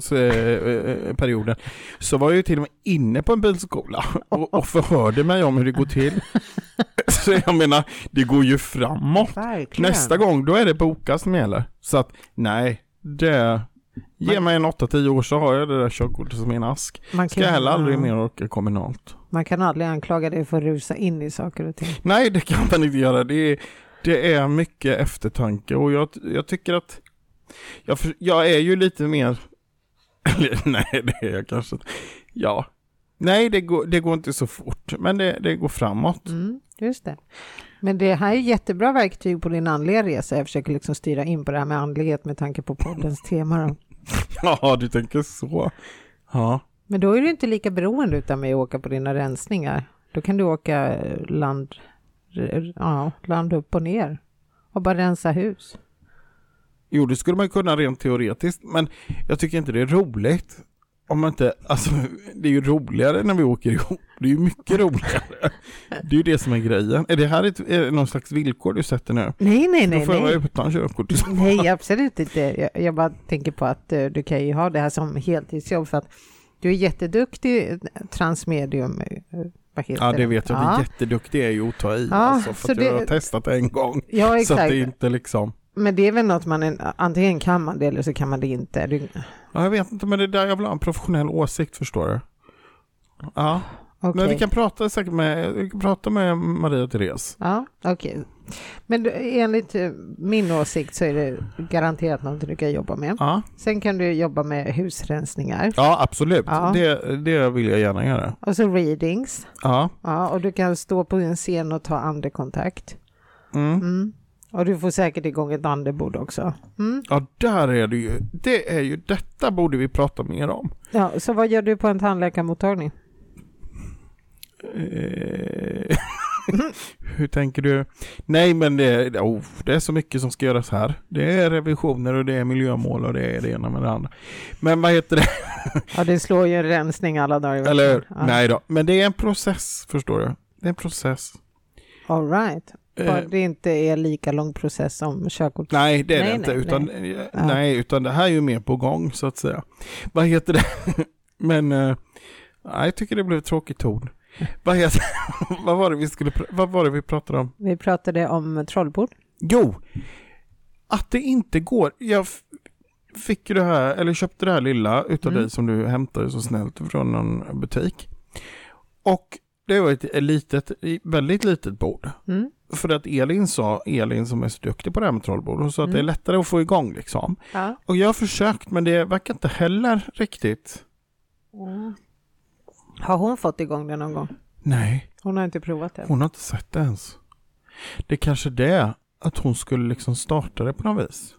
Speaker 1: körkortstillståndsperioden eh, så var jag ju till och med inne på en bilskola och, och förhörde mig om hur det går till. Så jag menar, det går ju framåt.
Speaker 2: Verkligen.
Speaker 1: Nästa gång, då är det boka som gäller. Så att, nej, det... Ge
Speaker 2: Men-
Speaker 1: mig en 8-10 år så har jag det där körkortet som en ask.
Speaker 2: Man
Speaker 1: Ska
Speaker 2: ju-
Speaker 1: jag heller aldrig
Speaker 2: ja.
Speaker 1: mer åka kommunalt.
Speaker 2: Man kan aldrig anklaga dig för att rusa in i saker och ting.
Speaker 1: Nej, det kan man inte göra. Det är, det är mycket eftertanke och jag, jag tycker att... Jag, för- jag är ju lite mer... Eller nej, det är jag kanske inte. Ja. Nej, det går, det går inte så fort, men det, det går framåt.
Speaker 2: Mm, just det. Men det här är jättebra verktyg på din andliga resa. Jag försöker liksom styra in på det här med andlighet med tanke på poddens tema. Då.
Speaker 1: Ja, du tänker så. Ja.
Speaker 2: Men då är du inte lika beroende utan mig att åka på dina rensningar. Då kan du åka eh, land, r- ja, land upp och ner och bara rensa hus.
Speaker 1: Jo, det skulle man ju kunna rent teoretiskt, men jag tycker inte det är roligt. Om man inte, alltså, det är ju roligare när vi åker ihop. Det är ju mycket roligare. Det är ju det som är grejen. Är det här ett, är det någon slags villkor du sätter nu?
Speaker 2: Nej, nej, nej,
Speaker 1: Då får jag vara
Speaker 2: nej.
Speaker 1: utan körkort.
Speaker 2: Nej, absolut inte. Jag, jag bara tänker på att eh, du kan ju ha det här som heltidsjobb för att du är jätteduktig eh, transmedium. eh, Vad heter
Speaker 1: Ja, det vet jag.
Speaker 2: Ja.
Speaker 1: Det är jätteduktig är ju att ta i.
Speaker 2: Ja,
Speaker 1: alltså, för
Speaker 2: så
Speaker 1: att jag
Speaker 2: det-
Speaker 1: har testat det en gång.
Speaker 2: Ja,
Speaker 1: Så
Speaker 2: exakt.
Speaker 1: att det är inte liksom...
Speaker 2: Men det är väl något man, en- antingen kan man det eller så kan man det inte. Det-
Speaker 1: Ja, jag vet inte, men det är där jag vill ha en professionell åsikt, förstår du. Ja,
Speaker 2: Okej.
Speaker 1: men vi kan prata säkert med, vi kan prata med Maria Therese.
Speaker 2: Ja, okej. Men då, enligt eh, min åsikt så är det garanterat något du kan jobba med.
Speaker 1: Ja,
Speaker 2: Sen kan du jobba med husrensningar
Speaker 1: ja absolut.
Speaker 2: Ja.
Speaker 1: Det, det vill jag gärna göra.
Speaker 2: och så readings.
Speaker 1: Ja.
Speaker 2: Ja, och du kan stå på en scen och ta andekontakt.
Speaker 1: Mm.
Speaker 2: Mm. Och du får säkert igång ett andebord också. Mm.
Speaker 1: Ja, där är det ju. Det är ju, detta borde vi prata mer om.
Speaker 2: Ja, så vad gör du på en tandläkarmottagning?
Speaker 1: Eh, Hur tänker du? Nej, men det är, oh, det är så mycket som ska göras här. Det är revisioner och det är miljömål och det är det ena med det andra. Men vad heter det?
Speaker 2: Ja, det slår ju en rensning alla dagar i veckan.
Speaker 1: Eller hur?
Speaker 2: Mm. Ja.
Speaker 1: Nej då. Men det är en process, förstår du. Det är en process.
Speaker 2: All right. Bara
Speaker 1: Eh,
Speaker 2: det inte är lika lång process som körkort.
Speaker 1: Nej, det är
Speaker 2: Nej,
Speaker 1: det inte.
Speaker 2: nej,
Speaker 1: utan, eh, nej, utan det här är ju mer på gång så att säga. Vad heter det? Men eh, nej, jag tycker det blev ett tråkigt ton. Vad, heter, vad, var det vi skulle, pr- vad var det vi pratade om?
Speaker 2: Vi pratade om trollbord.
Speaker 1: Jo, att det inte går. Jag f- fick ju det här, eller köpte det här lilla utav
Speaker 2: Mm.
Speaker 1: dig som du hämtade så snällt från någon butik. Och det var ett litet, väldigt litet bord.
Speaker 2: Mm.
Speaker 1: För att Elin sa, Elin som är så duktig på det här med trollbord, hon sa att
Speaker 2: Mm.
Speaker 1: det är lättare att få igång liksom.
Speaker 2: Ja.
Speaker 1: Och jag har försökt men det verkar inte heller riktigt.
Speaker 2: Mm. Har hon fått igång det någon gång?
Speaker 1: Nej,
Speaker 2: Hon har inte provat det.
Speaker 1: hon har inte sett det ens. Det är kanske det, att hon skulle liksom starta det på något vis.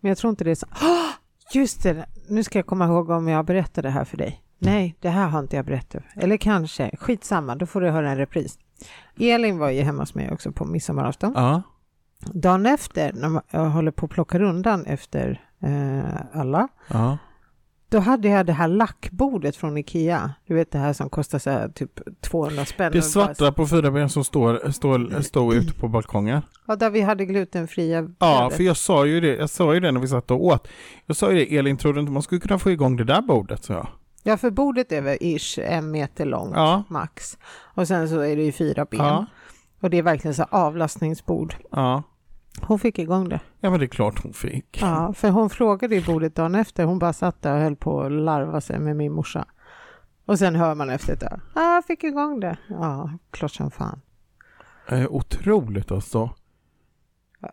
Speaker 2: Men jag tror inte det är så. Ah! Just det, nu ska jag komma ihåg om jag berättar det här för dig. Nej, det här har inte jag berättat. Eller kanske, skitsamma, då får du höra en repris. Elin var ju hemma hos mig också på midsommarafton.
Speaker 1: Ja.
Speaker 2: Dagen efter, när man- jag håller på att plocka undan efter eh, alla,
Speaker 1: Ja.
Speaker 2: då hade jag det här lackbordet från Ikea. Du vet det här som kostar så här, typ 200 spänn.
Speaker 1: Det
Speaker 2: Och bara-
Speaker 1: svarta på fyra ben som står, står, står ute på balkongen.
Speaker 2: Ja, där vi hade glutenfria
Speaker 1: Ja,
Speaker 2: brödet.
Speaker 1: för jag sa ju det, jag sa ju det när vi satt och åt. Jag sa ju det, Elin, tror du inte man skulle kunna få igång det där bordet? Så jag.
Speaker 2: ja, för bordet är väl ish en meter långt
Speaker 1: Ja.
Speaker 2: max. Och sen så är det ju fyra ben.
Speaker 1: Ja.
Speaker 2: Och det är verkligen så här avlastningsbord.
Speaker 1: Ja.
Speaker 2: Hon fick igång det.
Speaker 1: Ja, men det är klart hon fick.
Speaker 2: Ja, för hon frågade i bordet dagen efter. Hon bara satt där och höll på att larva sig med min morsa. Och sen hör man efter det. Ja, jag fick igång det. Ja, klart som fan.
Speaker 1: Eh, otroligt alltså.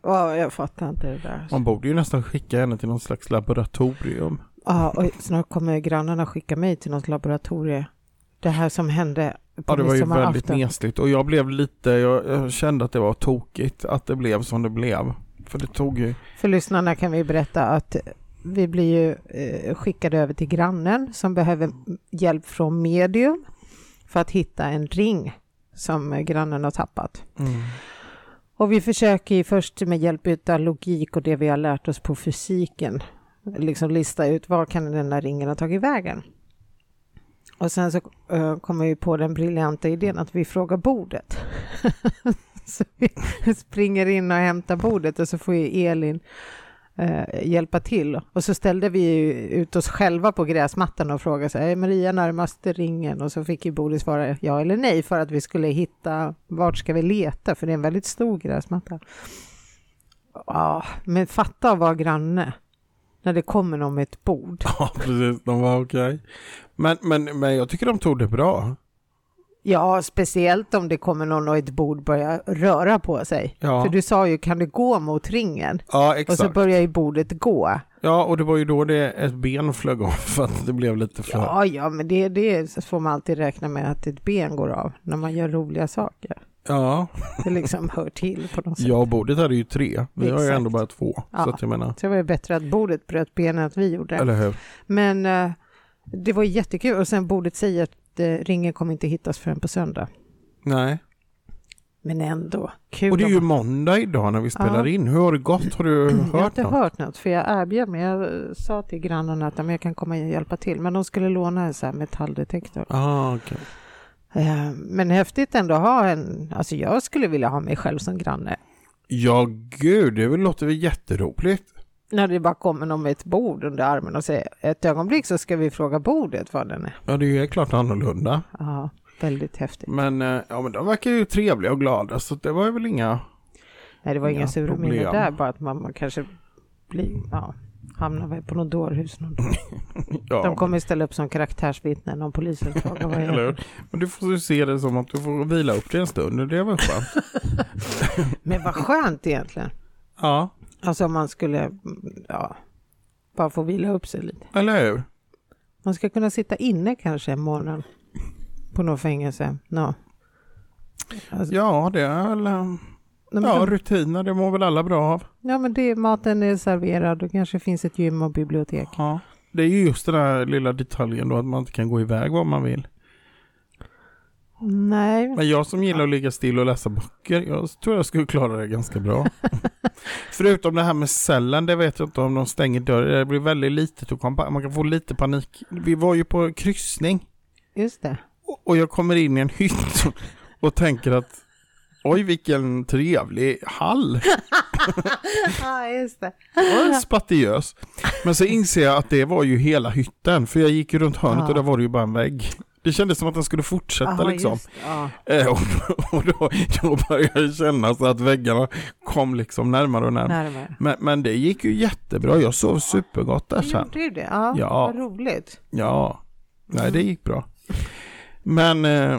Speaker 2: Ja, jag fattar inte det där.
Speaker 1: Man borde ju nästan skicka henne till någon slags laboratorium.
Speaker 2: Ja, och snart kommer grannarna skicka mig till något laboratorium. Det här som hände på
Speaker 1: Ja, det var ju väldigt
Speaker 2: midsommarafton.
Speaker 1: nesligt och jag blev lite, jag, jag kände att det var tokigt att det blev som det blev. För det tog ju,
Speaker 2: För lyssnarna kan vi berätta att vi blir ju eh, skickade över till grannen som behöver hjälp från medium för att hitta en ring som eh, grannen har tappat.
Speaker 1: Mm.
Speaker 2: Och vi försöker ju först med hjälp av logik och det vi har lärt oss på fysiken liksom lista ut var kan den där ringen ha tagit vägen. Och sen så eh, kommer vi på den briljanta idén att vi frågar bordet. så vi springer in och hämtar bordet och så får ju Elin eh, hjälpa till. Och så ställde vi ju ut oss själva på gräsmattan och frågade så här, är Maria närmast ringen? Och så fick ju bordet svara ja eller nej för att vi skulle hitta, vart ska vi leta? För det är en väldigt stor gräsmatta. Ja, men fatta att vara granne när det kommer någon med ett bord.
Speaker 1: ja precis, de var okej. Men, men, men jag tycker de tog det bra.
Speaker 2: Ja, speciellt om det kommer någon och ett bord börjar röra på sig.
Speaker 1: Ja.
Speaker 2: För du sa ju, kan du gå mot ringen?
Speaker 1: Ja,
Speaker 2: Och
Speaker 1: exakt.
Speaker 2: så börjar ju bordet gå.
Speaker 1: Ja, och det var ju då det ett ben flög av för att det blev lite för... Ja.
Speaker 2: Ja, ja, men det, det får man alltid räkna med att ett ben går av när man gör roliga saker.
Speaker 1: ja.
Speaker 2: Det liksom hör till på något sätt.
Speaker 1: Jag och bordet hade ju tre. Vi har ju
Speaker 2: Exakt.
Speaker 1: ändå bara två. Så
Speaker 2: Ja.
Speaker 1: att jag menar,
Speaker 2: Så det var ju bättre att bordet bröt benen än att vi gjorde.
Speaker 1: eller hur?
Speaker 2: Men eh, det var jättekul och sen bordet säger att eh, ringen kommer inte hittas förrän på söndag.
Speaker 1: Nej.
Speaker 2: Men ändå, kul.
Speaker 1: Och det är
Speaker 2: om
Speaker 1: ju
Speaker 2: man-
Speaker 1: måndag idag när vi spelar
Speaker 2: Ja.
Speaker 1: in. Hur har det gått? Har du
Speaker 2: jag har
Speaker 1: hört
Speaker 2: inte
Speaker 1: något?
Speaker 2: hört något för jag erbjöd mig. Jag eh, sa till grannarna att "Ja, men jag kan komma och hjälpa till. Men de skulle låna en så här metalldetektor.
Speaker 1: Ah, okej.
Speaker 2: Eh, Men häftigt ändå att ha en, alltså jag skulle vilja ha mig själv som granne.
Speaker 1: Ja, gud, det väl- låter väl jätteroligt.
Speaker 2: När det bara kommer någon med ett bord under armen och säger ett ögonblick så ska vi fråga bordet var den är.
Speaker 1: Ja, det är ju helt klart annorlunda.
Speaker 2: Ja, väldigt häftigt.
Speaker 1: Men, eh, ja, men de verkar ju trevliga och glada, så det var väl inga...
Speaker 2: Nej, det var inga
Speaker 1: Inga
Speaker 2: sura
Speaker 1: problem.
Speaker 2: minnen där, bara att mamma kanske blir, ja, hamnar väl på något dårhus. Någon dag.
Speaker 1: Ja,
Speaker 2: De kommer ställa upp som karaktärsvittnen om polisen frågar vad
Speaker 1: eller
Speaker 2: är det
Speaker 1: hur? Men du får ju se det som att du får vila upp dig en stund, och det var skönt.
Speaker 2: Men vad skönt egentligen.
Speaker 1: ja,
Speaker 2: Alltså om man skulle, ja, bara få vila upp sig lite.
Speaker 1: eller hur?
Speaker 2: Man ska kunna sitta inne kanske en månad på något fängelse. No. Alltså,
Speaker 1: Ja, det är väl... eh,
Speaker 2: nej, men
Speaker 1: Ja,
Speaker 2: de-
Speaker 1: rutiner, det mår väl alla bra av.
Speaker 2: ja, men det, maten är serverad och kanske finns ett gym och bibliotek.
Speaker 1: Ja. Det är ju just den här lilla detaljen då, att man inte kan gå iväg var man vill.
Speaker 2: Nej.
Speaker 1: Men jag som gillar att ligga still och läsa böcker, jag tror jag skulle klara det ganska bra. Förutom det här med cellen, det vet jag inte om de stänger dörren. Det blir väldigt litet och kompakt. Man kan få lite panik. Vi var ju på kryssning
Speaker 2: Just det.
Speaker 1: och- och jag kommer in i en hytt och tänker att oj vilken trevlig hall.
Speaker 2: Ja, just det.
Speaker 1: Det var spatiös. Men så inser jag att det var ju hela hytten, för jag gick ju runt hörnet
Speaker 2: Ja.
Speaker 1: och där var det ju bara en vägg. Det kändes som att den skulle fortsätta
Speaker 2: Aha,
Speaker 1: liksom.
Speaker 2: just det. Ja.
Speaker 1: Eh, Och då, och då, då började jag känna så att väggarna kom liksom närmare och närmare.
Speaker 2: Närmare.
Speaker 1: Men, men det gick ju jättebra, jag sov supergott där
Speaker 2: Du
Speaker 1: sen.
Speaker 2: gjorde ju det. Ja,
Speaker 1: Ja.
Speaker 2: Vad roligt.
Speaker 1: Ja, nej det gick bra. Men eh,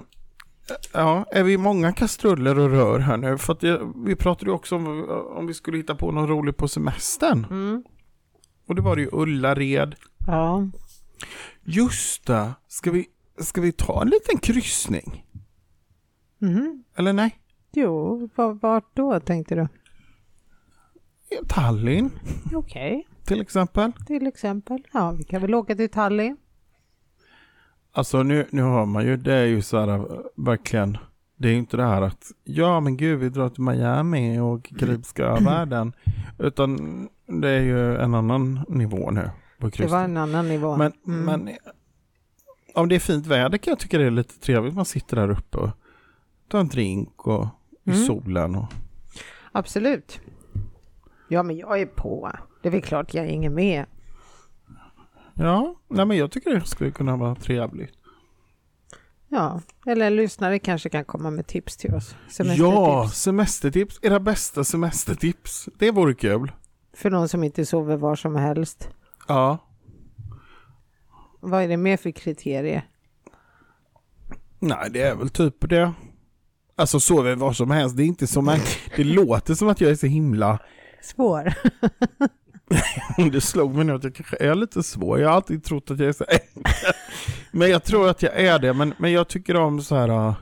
Speaker 1: ja, är vi många kastruller och rör här nu? För att jag, vi pratade ju också om om vi skulle hitta på något roligt på semestern.
Speaker 2: Mm.
Speaker 1: Och det var det ju Ullared.
Speaker 2: Ja.
Speaker 1: Just det, ska vi, ska vi ta en liten kryssning?
Speaker 2: Mhm.
Speaker 1: Eller nej?
Speaker 2: Jo, va- vart då tänkte du?
Speaker 1: Tallinn
Speaker 2: Okej,
Speaker 1: till exempel.
Speaker 2: till exempel. Ja, vi kan väl åka till Tallinn.
Speaker 1: Alltså nu, nu hör man ju, det är ju så här äh, verkligen, det är ju inte det här att ja men gud vi drar till Miami och
Speaker 2: Mm.
Speaker 1: Karibiska världen, utan det är ju en annan nivå nu på
Speaker 2: Det var
Speaker 1: kryssning.
Speaker 2: en annan nivå.
Speaker 1: Men,
Speaker 2: Mm.
Speaker 1: men eh, om det är fint väder kan jag tycka det är lite trevligt, man sitter där uppe och tar en drink och i
Speaker 2: Mm.
Speaker 1: solen och
Speaker 2: Absolut. Ja, men jag är på. Det är väl klart jag hänger med.
Speaker 1: ja, nej men jag tycker det skulle kunna vara trevligt.
Speaker 2: Ja, eller lyssnare kanske kan komma med tips till oss.
Speaker 1: Ja,
Speaker 2: Semestertips.
Speaker 1: semestertips, era bästa semestertips, det vore kul.
Speaker 2: För någon som inte sover var som helst.
Speaker 1: Ja.
Speaker 2: Vad är det mer för kriterier?
Speaker 1: Nej, det är väl typ det. Alltså sover var som helst. Det är inte som en, Det låter som att jag är så himla...
Speaker 2: Svår.
Speaker 1: Det slog mig nu att jag kanske är lite svår. Jag har alltid trott att jag är så enkel. Men jag tror att jag är det. Men, men jag tycker om så här... äh,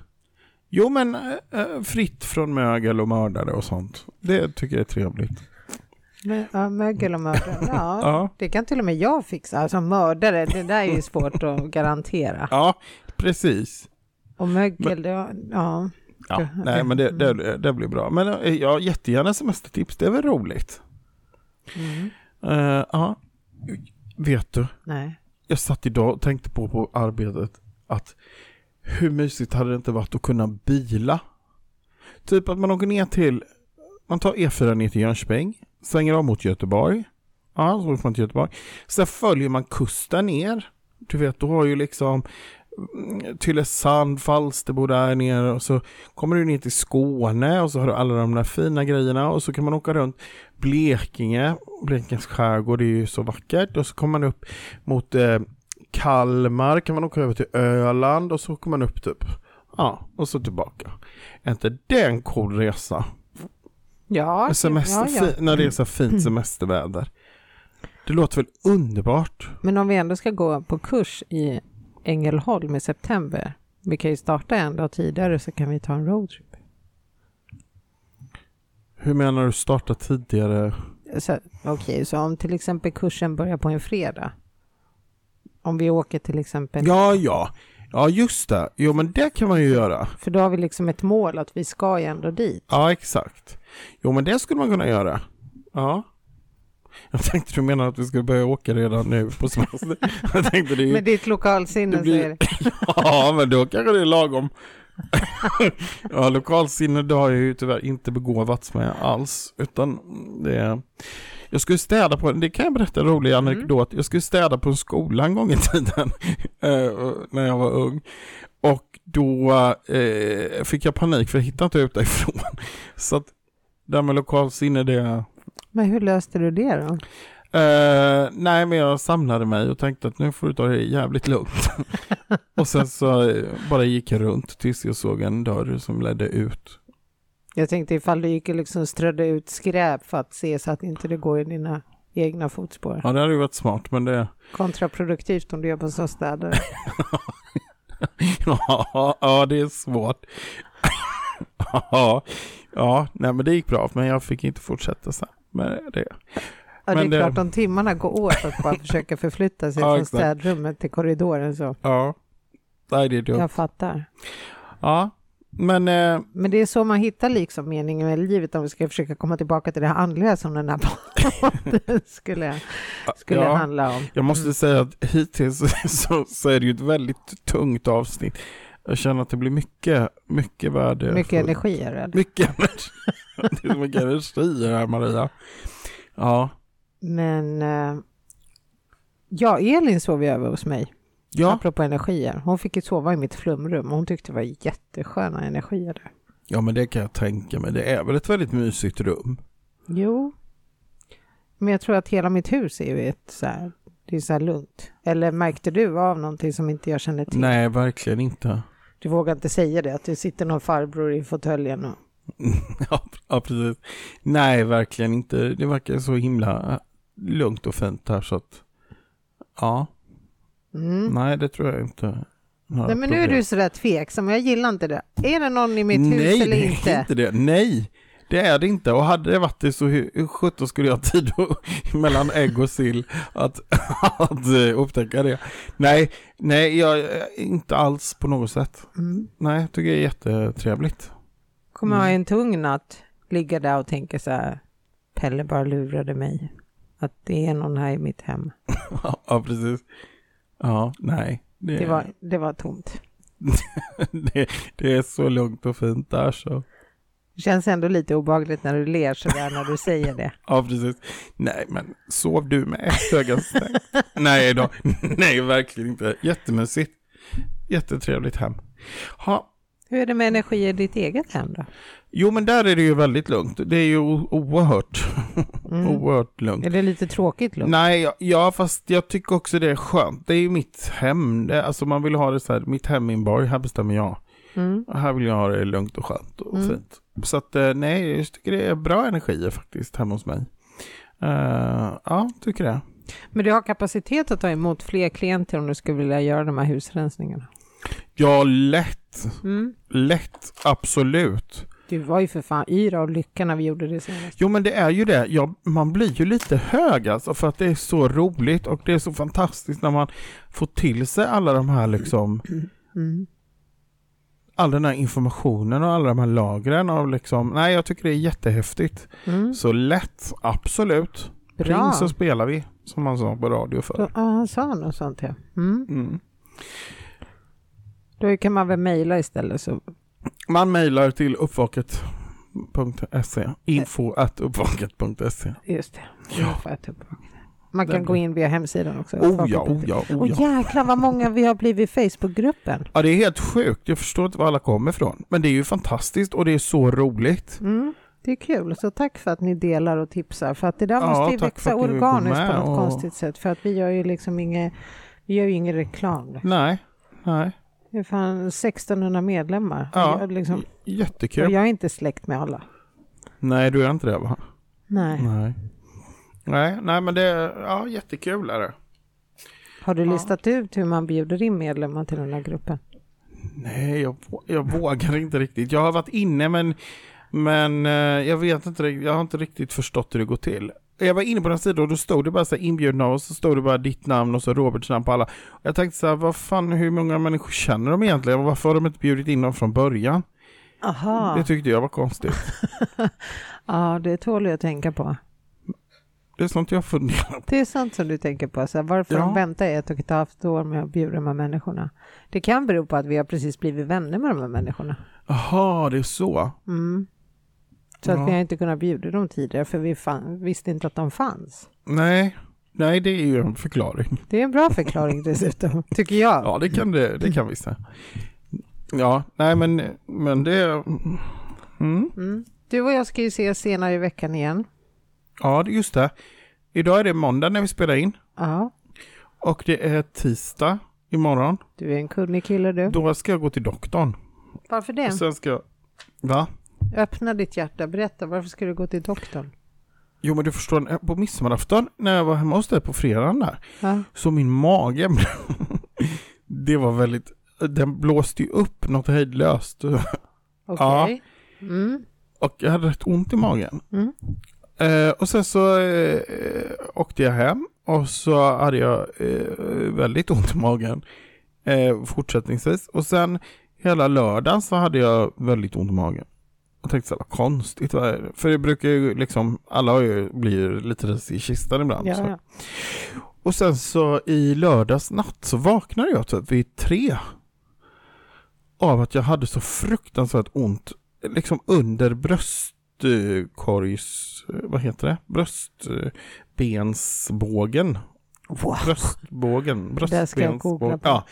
Speaker 1: Jo, men äh, äh, fritt från mögel och mördare och sånt. Det tycker jag är trevligt.
Speaker 2: Men, ja, mögel och mördare. Ja,
Speaker 1: Ja.
Speaker 2: det kan till och med jag fixa. Alltså mördare, det där är ju svårt att garantera.
Speaker 1: Ja, precis.
Speaker 2: Och mögel, det var, ja.
Speaker 1: Ja, nej, men det, det, det blir bra. Men äh, ja, jättegärna semestertips. Det är väl roligt.
Speaker 2: Mm.
Speaker 1: Eh, Ja, vet du?
Speaker 2: Nej.
Speaker 1: Jag satt idag och tänkte på på arbetet att hur mysigt hade det inte varit att kunna bila? Typ att man åker ner till, man tar E4 ner till Jönköping, svänger av mot Göteborg, ja, så åker man till Göteborg. Sen följer man kusten ner, du vet, då har ju liksom mm, Tylösand, Falsterbo där nere och så kommer du ner till Skåne och så har du alla de där fina grejerna och så kan man åka runt Blekinge, Blekinges skärgård är ju så vackert och så kommer man upp mot eh, Kalmar kan man åka över till Öland och så åker man upp typ. Ja, och så tillbaka. Är inte det en cool resa?
Speaker 2: Ja, det-
Speaker 1: Semester,
Speaker 2: ja, Mm. ja.
Speaker 1: fi- när det är så fint semesterväder. Det låter väl underbart?
Speaker 2: Men om vi ändå ska gå på kurs i Ängelholm i september, vi kan ju starta en dag tidigare så kan vi ta en roadtrip.
Speaker 1: Hur menar du starta tidigare?
Speaker 2: Så- Okej, så om till exempel kursen börjar på en fredag, om vi åker till exempel,
Speaker 1: Ja, ja. Ja, just det. Jo, men det kan man ju göra.
Speaker 2: för då har vi liksom ett mål att vi ska ju ändå dit.
Speaker 1: Ja, exakt. Jo, men det skulle man kunna göra. Ja. Jag tänkte du menar att vi skulle börja åka redan nu på semester. Jag tänkte det är ju
Speaker 2: Med ditt lokalsinne
Speaker 1: Mm. Det blir-
Speaker 2: så är det.
Speaker 1: Ja, men då kanske det är lagom. ja, lokalsinne det har jag ju tyvärr inte begåvats med alls. Utan det är... Jag skulle städa på, det kan jag berätta en rolig anekdot. Jag skulle städa på en skola en gång i tiden eh, när jag var ung. Och då eh, fick jag panik för jag hittade inte ut därifrån. Så att det här med lokalsinne det...
Speaker 2: Men hur löste du det då?
Speaker 1: Eh, nej, men jag samlade mig och tänkte att nu får du ta det jävligt lugnt. och sen så eh, bara gick jag runt tills jag såg en dörr som ledde ut.
Speaker 2: Jag tänkte ifall du gick och liksom strödde ut skräp för att se så att inte det går i dina egna fotspår.
Speaker 1: Ja, det hade ju varit smart, men det...
Speaker 2: Kontraproduktivt om du jobbar som städare.
Speaker 1: ja, ja, det är svårt. ja, ja, nej men det gick bra, men jag fick inte fortsätta sen. Men det,
Speaker 2: Ja, det är
Speaker 1: Men det-
Speaker 2: klart, om timmarna går åt att bara försöka förflytta sig
Speaker 1: Ja,
Speaker 2: från
Speaker 1: exakt.
Speaker 2: städrummet till korridoren så.
Speaker 1: ja. Nej, det är dumt.
Speaker 2: Jag fattar.
Speaker 1: Ja, men eh,
Speaker 2: Men det är så man hittar liksom meningen med livet om vi ska försöka komma tillbaka till det här andliga som den här podden skulle, skulle
Speaker 1: ja.
Speaker 2: handla om.
Speaker 1: Jag måste säga att hittills så, så är det ju ett väldigt tungt avsnitt. Jag känner att det blir mycket, mycket värde.
Speaker 2: Mycket
Speaker 1: för-
Speaker 2: energi är det.
Speaker 1: Mycket energi. Det är så mycket energi i det här Maria. Ja.
Speaker 2: Men eh, ja, Elin sov ju över hos mig,
Speaker 1: Ja.
Speaker 2: apropå energier. Hon fick ju sova i mitt flumrum och hon tyckte det var jättesköna energier där.
Speaker 1: ja, men det kan jag tänka mig. Det är väl ett väldigt mysigt rum.
Speaker 2: Jo. Men jag tror att hela mitt hus är ju ett så här, det är så här lugnt. Eller märkte du av någonting som inte jag kände till?
Speaker 1: Nej, verkligen inte.
Speaker 2: Du vågar inte säga det, att det sitter någon farbror i fåtöljen och...
Speaker 1: Ja, ja, precis. Nej, verkligen inte. Det verkar så himla eh, lugnt och fint här så att ja,
Speaker 2: Mm.
Speaker 1: nej, det tror jag inte. Några
Speaker 2: Nej men nu är
Speaker 1: problem.
Speaker 2: du sådär tveksam, jag gillar inte det. Är det någon i mitt
Speaker 1: Nej,
Speaker 2: hus eller
Speaker 1: det är
Speaker 2: inte?
Speaker 1: inte det. Nej, det är det inte. Och hade det varit det så hur hur sjutton skulle jag ha tid att- mellan ägg och sill att, att eh, upptäcka det. Nej, nej, jag eh, inte alls på något sätt.
Speaker 2: Mm.
Speaker 1: Nej, jag tycker det är jättetrevligt.
Speaker 2: Kommer ha en tung natt, ligga där och tänka så här, Pelle bara lurade mig. Att det är någon här i mitt hem.
Speaker 1: ja, precis. Ja, nej.
Speaker 2: Det var, det var tomt.
Speaker 1: det, det är så lugnt och fint där så.
Speaker 2: Det känns ändå lite obagligt när du ler sådär när du säger det.
Speaker 1: Ja, precis. Nej, men sov du med ett öga stängt? Nej då. Nej, verkligen inte. Jättemysigt. Jättetrevligt hem. Ha.
Speaker 2: Hur är det med energi i ditt eget hem då?
Speaker 1: Jo, men där är det ju väldigt lugnt. Det är ju o- oerhört,
Speaker 2: Mm.
Speaker 1: oerhört lugnt.
Speaker 2: Är det lite tråkigt lugnt?
Speaker 1: Oh. Nej, ja, ja, fast jag tycker också det är skönt. Det är ju mitt hem. Det, alltså man vill ha det så här, mitt hem i en borg, här bestämmer jag.
Speaker 2: Mm.
Speaker 1: Och Här vill jag ha det lugnt och skönt och
Speaker 2: Mm.
Speaker 1: fint. Så att eh, nej, jag tycker det är bra energier faktiskt hemma hos mig. Eh, ja, tycker det.
Speaker 2: Men du har kapacitet att ta emot fler klienter om du skulle vilja göra de här husrensningarna?
Speaker 1: Ja, lätt.
Speaker 2: Mm.
Speaker 1: Lätt, absolut.
Speaker 2: Du var ju för fan yra och lycka när vi gjorde det senast.
Speaker 1: Jo, men det är ju det. Ja, man blir ju lite hög alltså för att det är så roligt och det är så fantastiskt när man får till sig alla de här liksom,
Speaker 2: Mm.
Speaker 1: all den här informationen och alla de här lagren av liksom, nej, jag tycker det är jättehäftigt.
Speaker 2: Mm.
Speaker 1: Så lätt, absolut.
Speaker 2: Bra.
Speaker 1: Ring så spelar vi, som man sa på radio förr.
Speaker 2: Ja, han sa något sånt ja. Mm.
Speaker 1: Mm.
Speaker 2: Då kan man väl mejla istället så
Speaker 1: Man mejlar till uppvaket.se, info at uppvaket.se.
Speaker 2: Just det.
Speaker 1: Ja.
Speaker 2: Nu får jag ta upp vakten. Man
Speaker 1: Den
Speaker 2: kan gå
Speaker 1: blir-
Speaker 2: in via hemsidan också.
Speaker 1: Oh ja, oh ja,
Speaker 2: Och
Speaker 1: oh ja.
Speaker 2: jäklar vad många vi har blivit i Facebookgruppen.
Speaker 1: Ja, det är helt sjukt. Jag förstår inte var alla kommer ifrån. Men det är ju fantastiskt och det är så roligt.
Speaker 2: Mm, det är kul, så tack för att ni delar och tipsar. För att det där
Speaker 1: Ja,
Speaker 2: måste ju
Speaker 1: tack för
Speaker 2: växa
Speaker 1: att du vill gå
Speaker 2: organiskt på
Speaker 1: med
Speaker 2: något
Speaker 1: och-
Speaker 2: konstigt sätt. För att vi gör ju liksom inget, vi gör ju ingen reklam.
Speaker 1: Nej, nej.
Speaker 2: Det är fan 1600 medlemmar.
Speaker 1: Ja.
Speaker 2: Och Jag, liksom,
Speaker 1: J-
Speaker 2: och
Speaker 1: Jättekul.
Speaker 2: jag är inte släkt med alla.
Speaker 1: Nej, du är inte det va?
Speaker 2: Nej.
Speaker 1: Nej. Nej, nej men det är ja, jättekul är det.
Speaker 2: Har du
Speaker 1: Ja.
Speaker 2: listat ut hur man bjuder in medlemmar till den här gruppen?
Speaker 1: Nej, jag, vå- jag vågar inte riktigt. Jag har varit inne men, men eh, jag vet inte riktigt. Jag har inte riktigt förstått hur det går till. Jag var inne på den sidan och då stod det bara så här inbjudna och så stod det bara ditt namn och så Roberts namn på alla. Jag tänkte så här, vad fan, hur många människor känner de egentligen? Varför har de inte bjudit in dem från början?
Speaker 2: Aha,
Speaker 1: Det tyckte jag var konstigt.
Speaker 2: ja det tål jag att tänka på.
Speaker 1: Det är sånt jag funderar på.
Speaker 2: Det är sant som du tänker på. Så här, varför
Speaker 1: Ja.
Speaker 2: de väntar i ett och ett halvt år med att bjuda de här människorna. Det kan bero på att vi har precis blivit vänner med de här människorna.
Speaker 1: Jaha, det är så.
Speaker 2: Mm. Så
Speaker 1: Ja.
Speaker 2: att vi har inte kunnat bjuda dem tidigare för vi fan, visste inte att de fanns.
Speaker 1: Nej, nej det är ju en förklaring.
Speaker 2: Det är en bra förklaring dessutom, tycker jag.
Speaker 1: Ja, det kan det, det kan vi säga. Ja, nej men, men det... Mm.
Speaker 2: Mm. Du och jag ska ju ses senare i veckan igen.
Speaker 1: Ja, det- just det. Idag är det måndag när vi spelar in
Speaker 2: Ja,
Speaker 1: och det är tisdag imorgon.
Speaker 2: du är en kunnig kille du.
Speaker 1: Då Alltså- ska jag gå till doktorn.
Speaker 2: Varför det?
Speaker 1: Och sen ska jag... Va?
Speaker 2: Öppna ditt hjärta, berätta varför ska du gå till doktorn?
Speaker 1: Jo men du förstår, eh, på midsommarafton när jag var hemma hos dig på fredagen där
Speaker 2: Ja.
Speaker 1: Så min mage, det var väldigt, den blåste ju upp något hejdlöst.
Speaker 2: Okej.
Speaker 1: Ja.
Speaker 2: Mm.
Speaker 1: Och jag hade rätt ont i magen.
Speaker 2: Mm.
Speaker 1: Eh, och sen så eh, åkte jag hem och så hade jag eh, väldigt ont i magen eh, fortsättningsvis. Och sen Hela lördagen så hade jag väldigt ont i magen. Jag tänkte så här, vad konstigt, vad är det? För det brukar ju liksom, alla har ju, blir lite i kistan ibland.
Speaker 2: Ja,
Speaker 1: så.
Speaker 2: ja.
Speaker 1: Och sen så i lördags natt så vaknade jag typ vid tre av att jag hade så fruktansvärt ont liksom under bröstkorgs, vad heter det, bröstbensbågen.
Speaker 2: Wow.
Speaker 1: Bröstbågen,
Speaker 2: Där ska jag googla
Speaker 1: bröstbensbågen.
Speaker 2: på.
Speaker 1: Ja,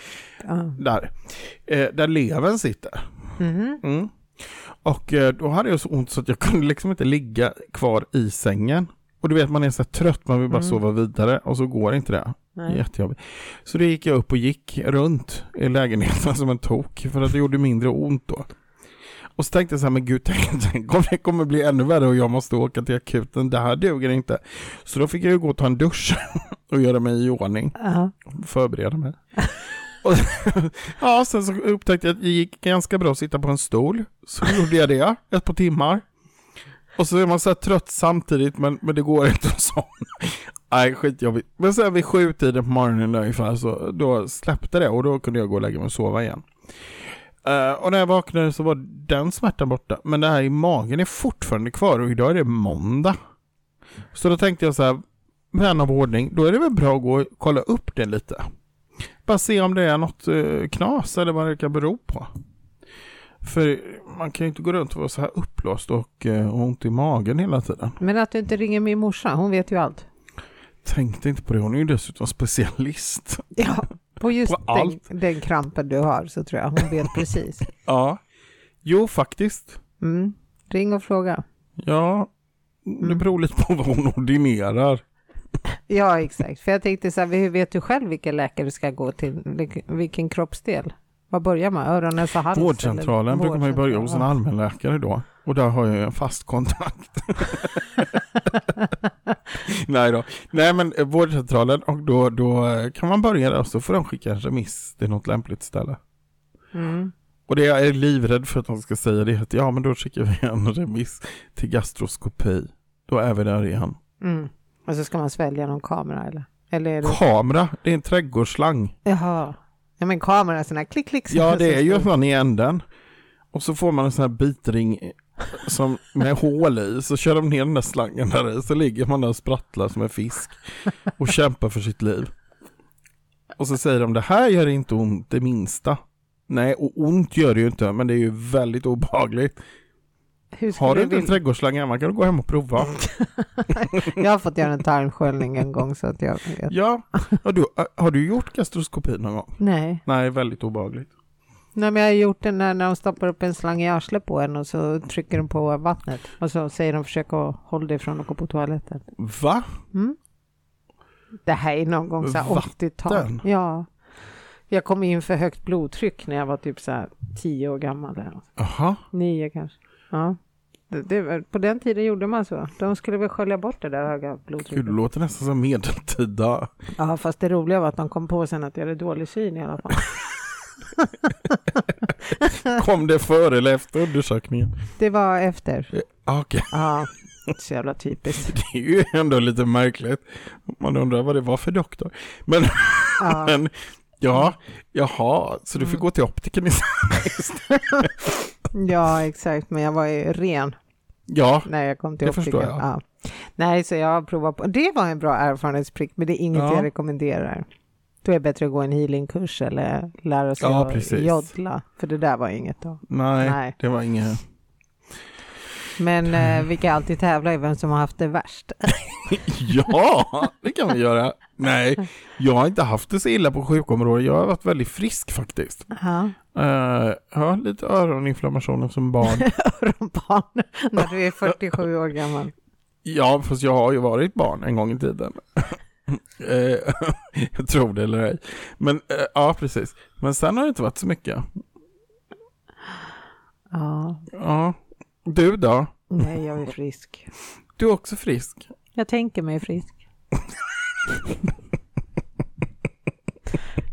Speaker 2: Ja. Mm.
Speaker 1: där. Eh, där levern sitter.
Speaker 2: Mhm.
Speaker 1: Mm. Och eh, då hade jag så ont så att jag kunde liksom inte ligga kvar i sängen. Och du vet man är så här trött, man vill bara
Speaker 2: Mm.
Speaker 1: sova vidare och så går inte det.
Speaker 2: Nej.
Speaker 1: Jättejobbigt. Så då gick jag upp och gick runt i lägenheten som en tok för att det gjorde mindre ont då. Och så tänkte jag så här, men gud, tänk, tänk om det kommer bli ännu värre och jag måste åka till akuten, det här duger inte. Så då fick jag ju gå och ta en dusch och göra mig i ordning,
Speaker 2: Ja.
Speaker 1: förbereda mig. Och, ja, sen så upptäckte jag att det gick ganska bra att sitta på en stol, så gjorde jag det ett par timmar. Och så är man så här trött samtidigt, men, men det går inte och så. Nej, skitjobbigt. Men sen vid sjutiden på morgonen ungefär så då släppte det och då kunde jag gå och lägga mig och sova igen. Eh, och när jag vaknade så var den smärtan borta. Men det här i magen är fortfarande kvar och idag är det måndag. Så då tänkte jag så här, vän av ordning, då är det väl bra att gå och kolla upp det lite. Bara se om det är något eh, knas eller vad det kan bero på. För man kan ju inte gå runt och vara så här uppblåst och eh, ha ont i magen hela tiden.
Speaker 2: Men att du inte ringer min morsa, hon vet ju allt.
Speaker 1: Tänkte inte på det, hon är ju dessutom specialist.
Speaker 2: Ja, på just
Speaker 1: På
Speaker 2: den,
Speaker 1: allt.
Speaker 2: den krampen du har så tror jag hon vet precis.
Speaker 1: Ja. Jo, faktiskt.
Speaker 2: Mm. Ring och fråga.
Speaker 1: Ja. Det beror lite på vad hon ordinerar.
Speaker 2: Ja, exakt. För jag tänkte så här, hur vet du själv vilken läkare du ska gå till? Vilken- Vilken kroppsdel? Vad börjar man? Öron, näsa, hals? eller-
Speaker 1: Vårdcentralen brukar man ju börja hos en
Speaker 2: vårdcentral.
Speaker 1: allmänläkare då. Och där har jag ju en fast kontakt. Nej då. Nej men eh, vårdcentralen och då, då eh, kan man börja där och så får de skicka en remiss till något lämpligt ställe.
Speaker 2: Mm.
Speaker 1: Och det jag är livrädd för att de ska säga det är att ja men då skickar vi en remiss till gastroskopi. Då är vi där igen.
Speaker 2: Mm. Och så ska man svälja någon kamera eller? Eller är det...
Speaker 1: Kamera, det är en trädgårdsslang.
Speaker 2: Jaha. Ja men kamera, sån här klick klick. sån
Speaker 1: Ja,
Speaker 2: här
Speaker 1: det
Speaker 2: som
Speaker 1: är ju
Speaker 2: står-
Speaker 1: en sån i änden. Och så får man en sån här bitring som, med hål i, så kör de ner den där slangen där i, så ligger man där och sprattlar som en fisk och kämpar för sitt liv. Och så säger de, det här gör inte ont det minsta. Nej, och ont gör det ju inte, men det är ju väldigt obehagligt.
Speaker 2: Hur skulle
Speaker 1: Har du
Speaker 2: du
Speaker 1: inte en
Speaker 2: vilja-
Speaker 1: trädgårdsslang hemma kan du gå hem och prova.
Speaker 2: Jag har fått göra en tarmsköljning en gång så att jag vet.
Speaker 1: Ja, har du, äh, har du gjort gastroskopi någon gång?
Speaker 2: Nej.
Speaker 1: Nej, väldigt obehagligt.
Speaker 2: Nej, men jag har gjort den när, när de stoppar upp en slang i arslet på en och så trycker de på vattnet. Och så säger de försök att hålla dig från att gå på toaletten.
Speaker 1: Va?
Speaker 2: Mm. Det här är någon gång så här
Speaker 1: Vatten?
Speaker 2: 80-tal. Ja. Jag kom in för högt blodtryck när jag var typ så här 10 år gammal. Eller något.
Speaker 1: Jaha.
Speaker 2: Nio kanske. Ja. Det, det, var- på den tiden gjorde man så. De skulle väl skölja bort det där höga
Speaker 1: Gud,
Speaker 2: blodtrycket.
Speaker 1: det låter nästan som medeltida.
Speaker 2: Ja, fast det roliga var att de kom på sen att jag hade dålig syn i alla fall.
Speaker 1: Kom det före eller efter undersökningen?
Speaker 2: Det var efter.
Speaker 1: Ah, Okej,
Speaker 2: Ja, så jävla typiskt.
Speaker 1: det är ju ändå lite märkligt. Man undrar vad det var för doktor. Men,
Speaker 2: Ja.
Speaker 1: men ja, jaha, så du fick gå till optiken istället?
Speaker 2: ja, exakt. Men jag var ju ren
Speaker 1: Ja,
Speaker 2: när jag kom till
Speaker 1: Det förstår
Speaker 2: optiken. Ja. Nej, så jag har provat på. Det var en bra erfarenhetsprick, men det är inget
Speaker 1: Ja.
Speaker 2: jag rekommenderar. Då är det bättre att gå en healingkurs eller lära sig
Speaker 1: Ja,
Speaker 2: att
Speaker 1: precis.
Speaker 2: joddla, för det där var inget då.
Speaker 1: nej,
Speaker 2: Nej.
Speaker 1: det var inget.
Speaker 2: Men eh, vi kan alltid tävla i vem som har haft det värst.
Speaker 1: Ja, det kan vi göra. Nej, jag har inte haft det så illa på sjukområdet. Jag har varit väldigt frisk faktiskt.
Speaker 2: Ja,
Speaker 1: Uh, ja, lite öroninflammationer som barn.
Speaker 2: barn, när du är 47 år gammal.
Speaker 1: Ja, fast jag har ju varit barn en gång i tiden. Eh, jag tror det eller ej. Men eh, ja, precis. Men sen har det inte varit så mycket.
Speaker 2: Ja,
Speaker 1: Ja. Du då?
Speaker 2: nej, jag är frisk.
Speaker 1: Du är också frisk.
Speaker 2: Jag tänker mig frisk.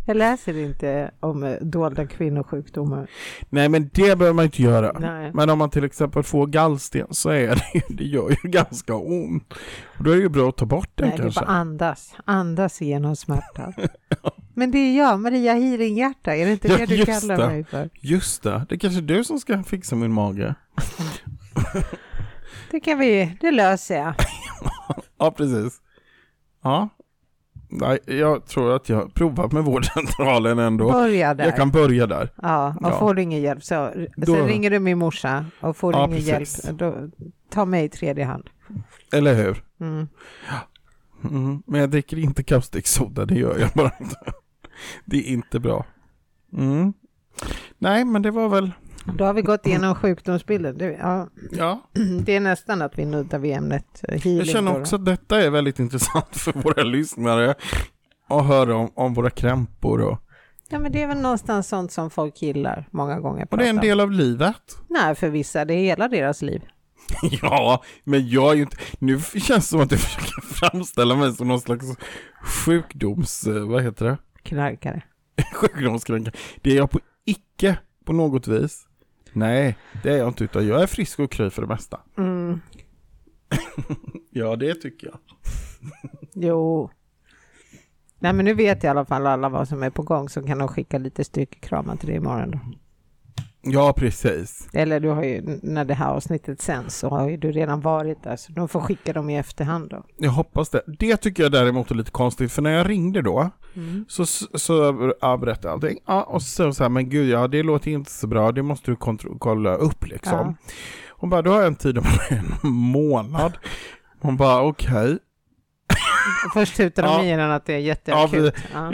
Speaker 2: Jag läser inte om eh, dolda kvinnosjukdomar.
Speaker 1: Nej, men det behöver man inte göra.
Speaker 2: Nej.
Speaker 1: Men om man till exempel får gallsten så är det ju, det gör ju ganska ont. Och då är det ju bra att ta bort den
Speaker 2: Nej, det är
Speaker 1: kanske.
Speaker 2: bara andas. Andas genom smärtan. Men det är jag, Maria Hiringhjärta, är det inte
Speaker 1: Ja,
Speaker 2: det du
Speaker 1: just
Speaker 2: kallar
Speaker 1: det.
Speaker 2: mig för?
Speaker 1: Just det, det är kanske är du som ska fixa min mage.
Speaker 2: Det kan vi, det löser jag.
Speaker 1: Ja, precis. Ja. Nej, jag tror att jag provat med vårdcentralen ändå.
Speaker 2: Börja där.
Speaker 1: Jag kan börja där.
Speaker 2: Ja, och
Speaker 1: Ja.
Speaker 2: får du ingen hjälp så
Speaker 1: Då-
Speaker 2: sen ringer du min morsa och får du
Speaker 1: Ja,
Speaker 2: ingen
Speaker 1: precis.
Speaker 2: hjälp då, ta mig i tredje hand.
Speaker 1: Eller hur?
Speaker 2: Mm.
Speaker 1: Mm. Men jag dricker inte kaustiksoda, det gör jag bara inte. Det är inte bra. Mm. Nej, men det var väl...
Speaker 2: Då har vi gått igenom sjukdomsbilden. Det, ja,
Speaker 1: Ja,
Speaker 2: det är nästan att vi nuddar vid ämnet eh, healing.
Speaker 1: jag känner
Speaker 2: då.
Speaker 1: också att detta är väldigt intressant för våra lyssnare. Att höra om, om våra krämpor och...
Speaker 2: Ja, men det är väl någonstans sånt som folk gillar många gånger.
Speaker 1: Och det är en
Speaker 2: prata om.
Speaker 1: del av livet.
Speaker 2: Nej, för vissa, det är hela deras liv.
Speaker 1: Ja, men jag är ju inte... Nu känns det som att du försöker framställa mig som någon slags sjukdoms... eh, Vad heter det?
Speaker 2: Knarkare.
Speaker 1: Sjukdomskränkare. Det är jag på icke på något vis. Nej, det är jag inte utan jag är frisk och kry för det mesta.
Speaker 2: Mm.
Speaker 1: Ja, det tycker jag.
Speaker 2: Jo. Nej, men nu vet i alla fall alla vad som är på gång så kan de skicka lite styrkekramar till dig imorgon. Då.
Speaker 1: Ja, precis.
Speaker 2: Eller du har ju, n- när det här avsnittet sänds så har ju du redan varit där så de får skicka dem i efterhand då.
Speaker 1: Jag hoppas det. Det tycker jag däremot är lite konstigt, för när jag ringde då så, så ja, berättade jag allting. Ja, och så så här, men gud, ja, det låter inte så bra, det måste du kontro- kolla upp liksom.
Speaker 2: Ja.
Speaker 1: Hon bara, då har jag en tid om en månad. Hon bara, okej.
Speaker 2: Och först tutar de
Speaker 1: Ja.
Speaker 2: i den att det är jätteakut. Ja,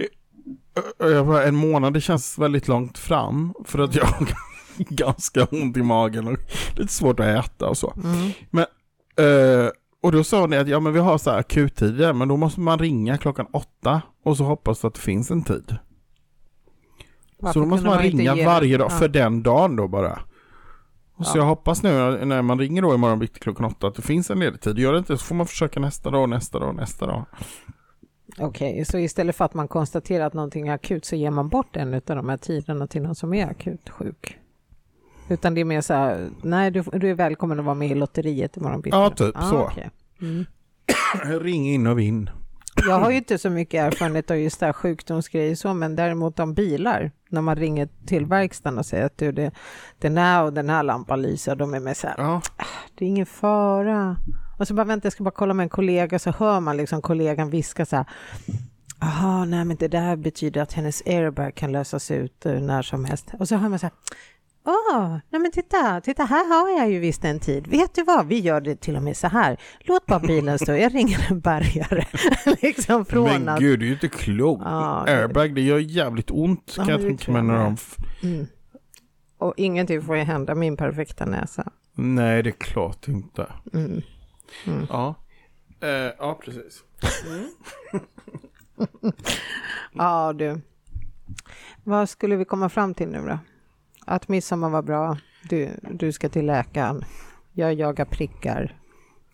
Speaker 1: Och Jag bara, en månad, det känns väldigt långt fram. För att jag har ganska ont i magen och lite svårt att äta och så.
Speaker 2: mm.
Speaker 1: Eh, och då sa ni att ja, men vi har så här akuttider, men då måste man ringa klockan åtta och så hoppas att det finns en tid.
Speaker 2: Varför
Speaker 1: så då måste
Speaker 2: kunde
Speaker 1: man
Speaker 2: inte
Speaker 1: ringa
Speaker 2: ge-
Speaker 1: varje dag,
Speaker 2: Ja.
Speaker 1: för den dagen då bara. Och så
Speaker 2: Ja.
Speaker 1: jag hoppas nu när man ringer då imorgon bitti klockan åtta att det finns en ledig tid. Gör det inte så får man försöka nästa dag, nästa dag, nästa dag.
Speaker 2: Okej, så istället för att man konstaterar att någonting är akut så ger man bort en av de här tiderna till någon som är akut sjuk? Utan det är mer så här, nej du, du är välkommen att vara med i lotteriet imorgon bitti.
Speaker 1: Ja, typ så.
Speaker 2: okej. Mm.
Speaker 1: Ring in och vinn.
Speaker 2: Jag har ju inte så mycket erfarenhet av just det här sjukdomsgrejer så, men däremot om bilar. När man ringer till verkstaden och säger att du, det, den här och den här lampan lyser och de är med så här,
Speaker 1: Ja,
Speaker 2: det är ingen fara. Och så bara vänta, jag ska bara kolla med en kollega, så hör man liksom kollegan viska så här, jaha, nej men det där betyder att hennes airbag kan lösas ut eh, när som helst. Och så hör man så här, Åh, nej men titta, titta här har jag ju visst en tid. Vet du vad, vi gör det till och med så här. Låt bara bilen stå, jag ringer en bärgare. liksom från
Speaker 1: men
Speaker 2: att...
Speaker 1: gud, det är ju inte klokt.
Speaker 2: Ja, det-
Speaker 1: Airbag, det gör jävligt ont
Speaker 2: Ja,
Speaker 1: kan jag
Speaker 2: men det
Speaker 1: tänka
Speaker 2: tror
Speaker 1: mig
Speaker 2: jag
Speaker 1: när
Speaker 2: med.
Speaker 1: de... f-
Speaker 2: Mm. Och ingenting får ju hända min perfekta näsa.
Speaker 1: Nej, det är klart inte.
Speaker 2: Mm.
Speaker 1: Ja, eh, ja precis. Mm.
Speaker 2: Ja du. Vad skulle vi komma fram till nu då? Att midsommar var bra. Du, du ska till läkaren. Jag jagar prickar.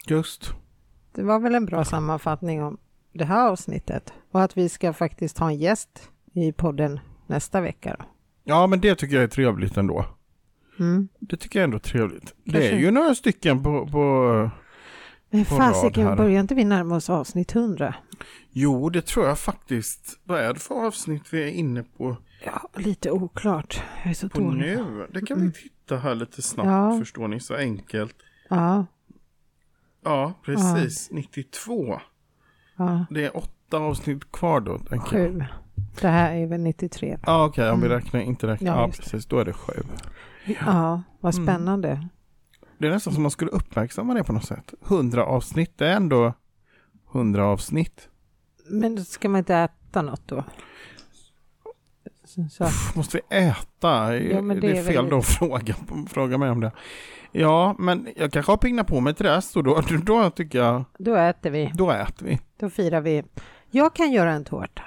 Speaker 1: Just.
Speaker 2: Det var väl en bra sammanfattning om det här avsnittet. Och att vi ska faktiskt ha en gäst i podden nästa vecka då.
Speaker 1: Ja, men det tycker jag är trevligt ändå.
Speaker 2: Mm.
Speaker 1: Det tycker jag ändå är trevligt. Det
Speaker 2: Kanske.
Speaker 1: är ju några stycken på, på...
Speaker 2: Men
Speaker 1: På rad
Speaker 2: Eh, fasiken,
Speaker 1: här.
Speaker 2: börjar inte vi närma oss avsnitt 100?
Speaker 1: Jo, det tror jag faktiskt. Vad är det för avsnitt vi är inne på,
Speaker 2: Ja, lite oklart. Jag är så
Speaker 1: på
Speaker 2: dålig.
Speaker 1: nu? Det kan vi titta här lite snabbt,
Speaker 2: Mm. Ja.
Speaker 1: förstår ni, så enkelt.
Speaker 2: Ja,
Speaker 1: Ja, precis. 92.
Speaker 2: ja.
Speaker 1: Det är åtta avsnitt kvar då, tänker jag.
Speaker 2: Sju. Det här är väl 93?
Speaker 1: Ja, okej, om vi räknar, inte räknar.
Speaker 2: Ja,
Speaker 1: Ja,
Speaker 2: just det.
Speaker 1: precis, då är det sju.
Speaker 2: Ja, vad
Speaker 1: Mm.
Speaker 2: spännande.
Speaker 1: Det är nästan som man skulle uppmärksamma det på något sätt. 100 avsnitt, det är ändå 100 avsnitt.
Speaker 2: Men då ska man inte äta något då? Så, så.
Speaker 1: Pff, Måste vi äta?
Speaker 2: Ja, men
Speaker 1: det,
Speaker 2: det
Speaker 1: är
Speaker 2: är
Speaker 1: fel
Speaker 2: väl-
Speaker 1: då att fråga, fråga mig om det. Ja, men jag kanske har pignat på mig till rest och då, då tycker jag,
Speaker 2: Då äter vi,
Speaker 1: då äter vi.
Speaker 2: då firar vi. Jag kan göra en tårta.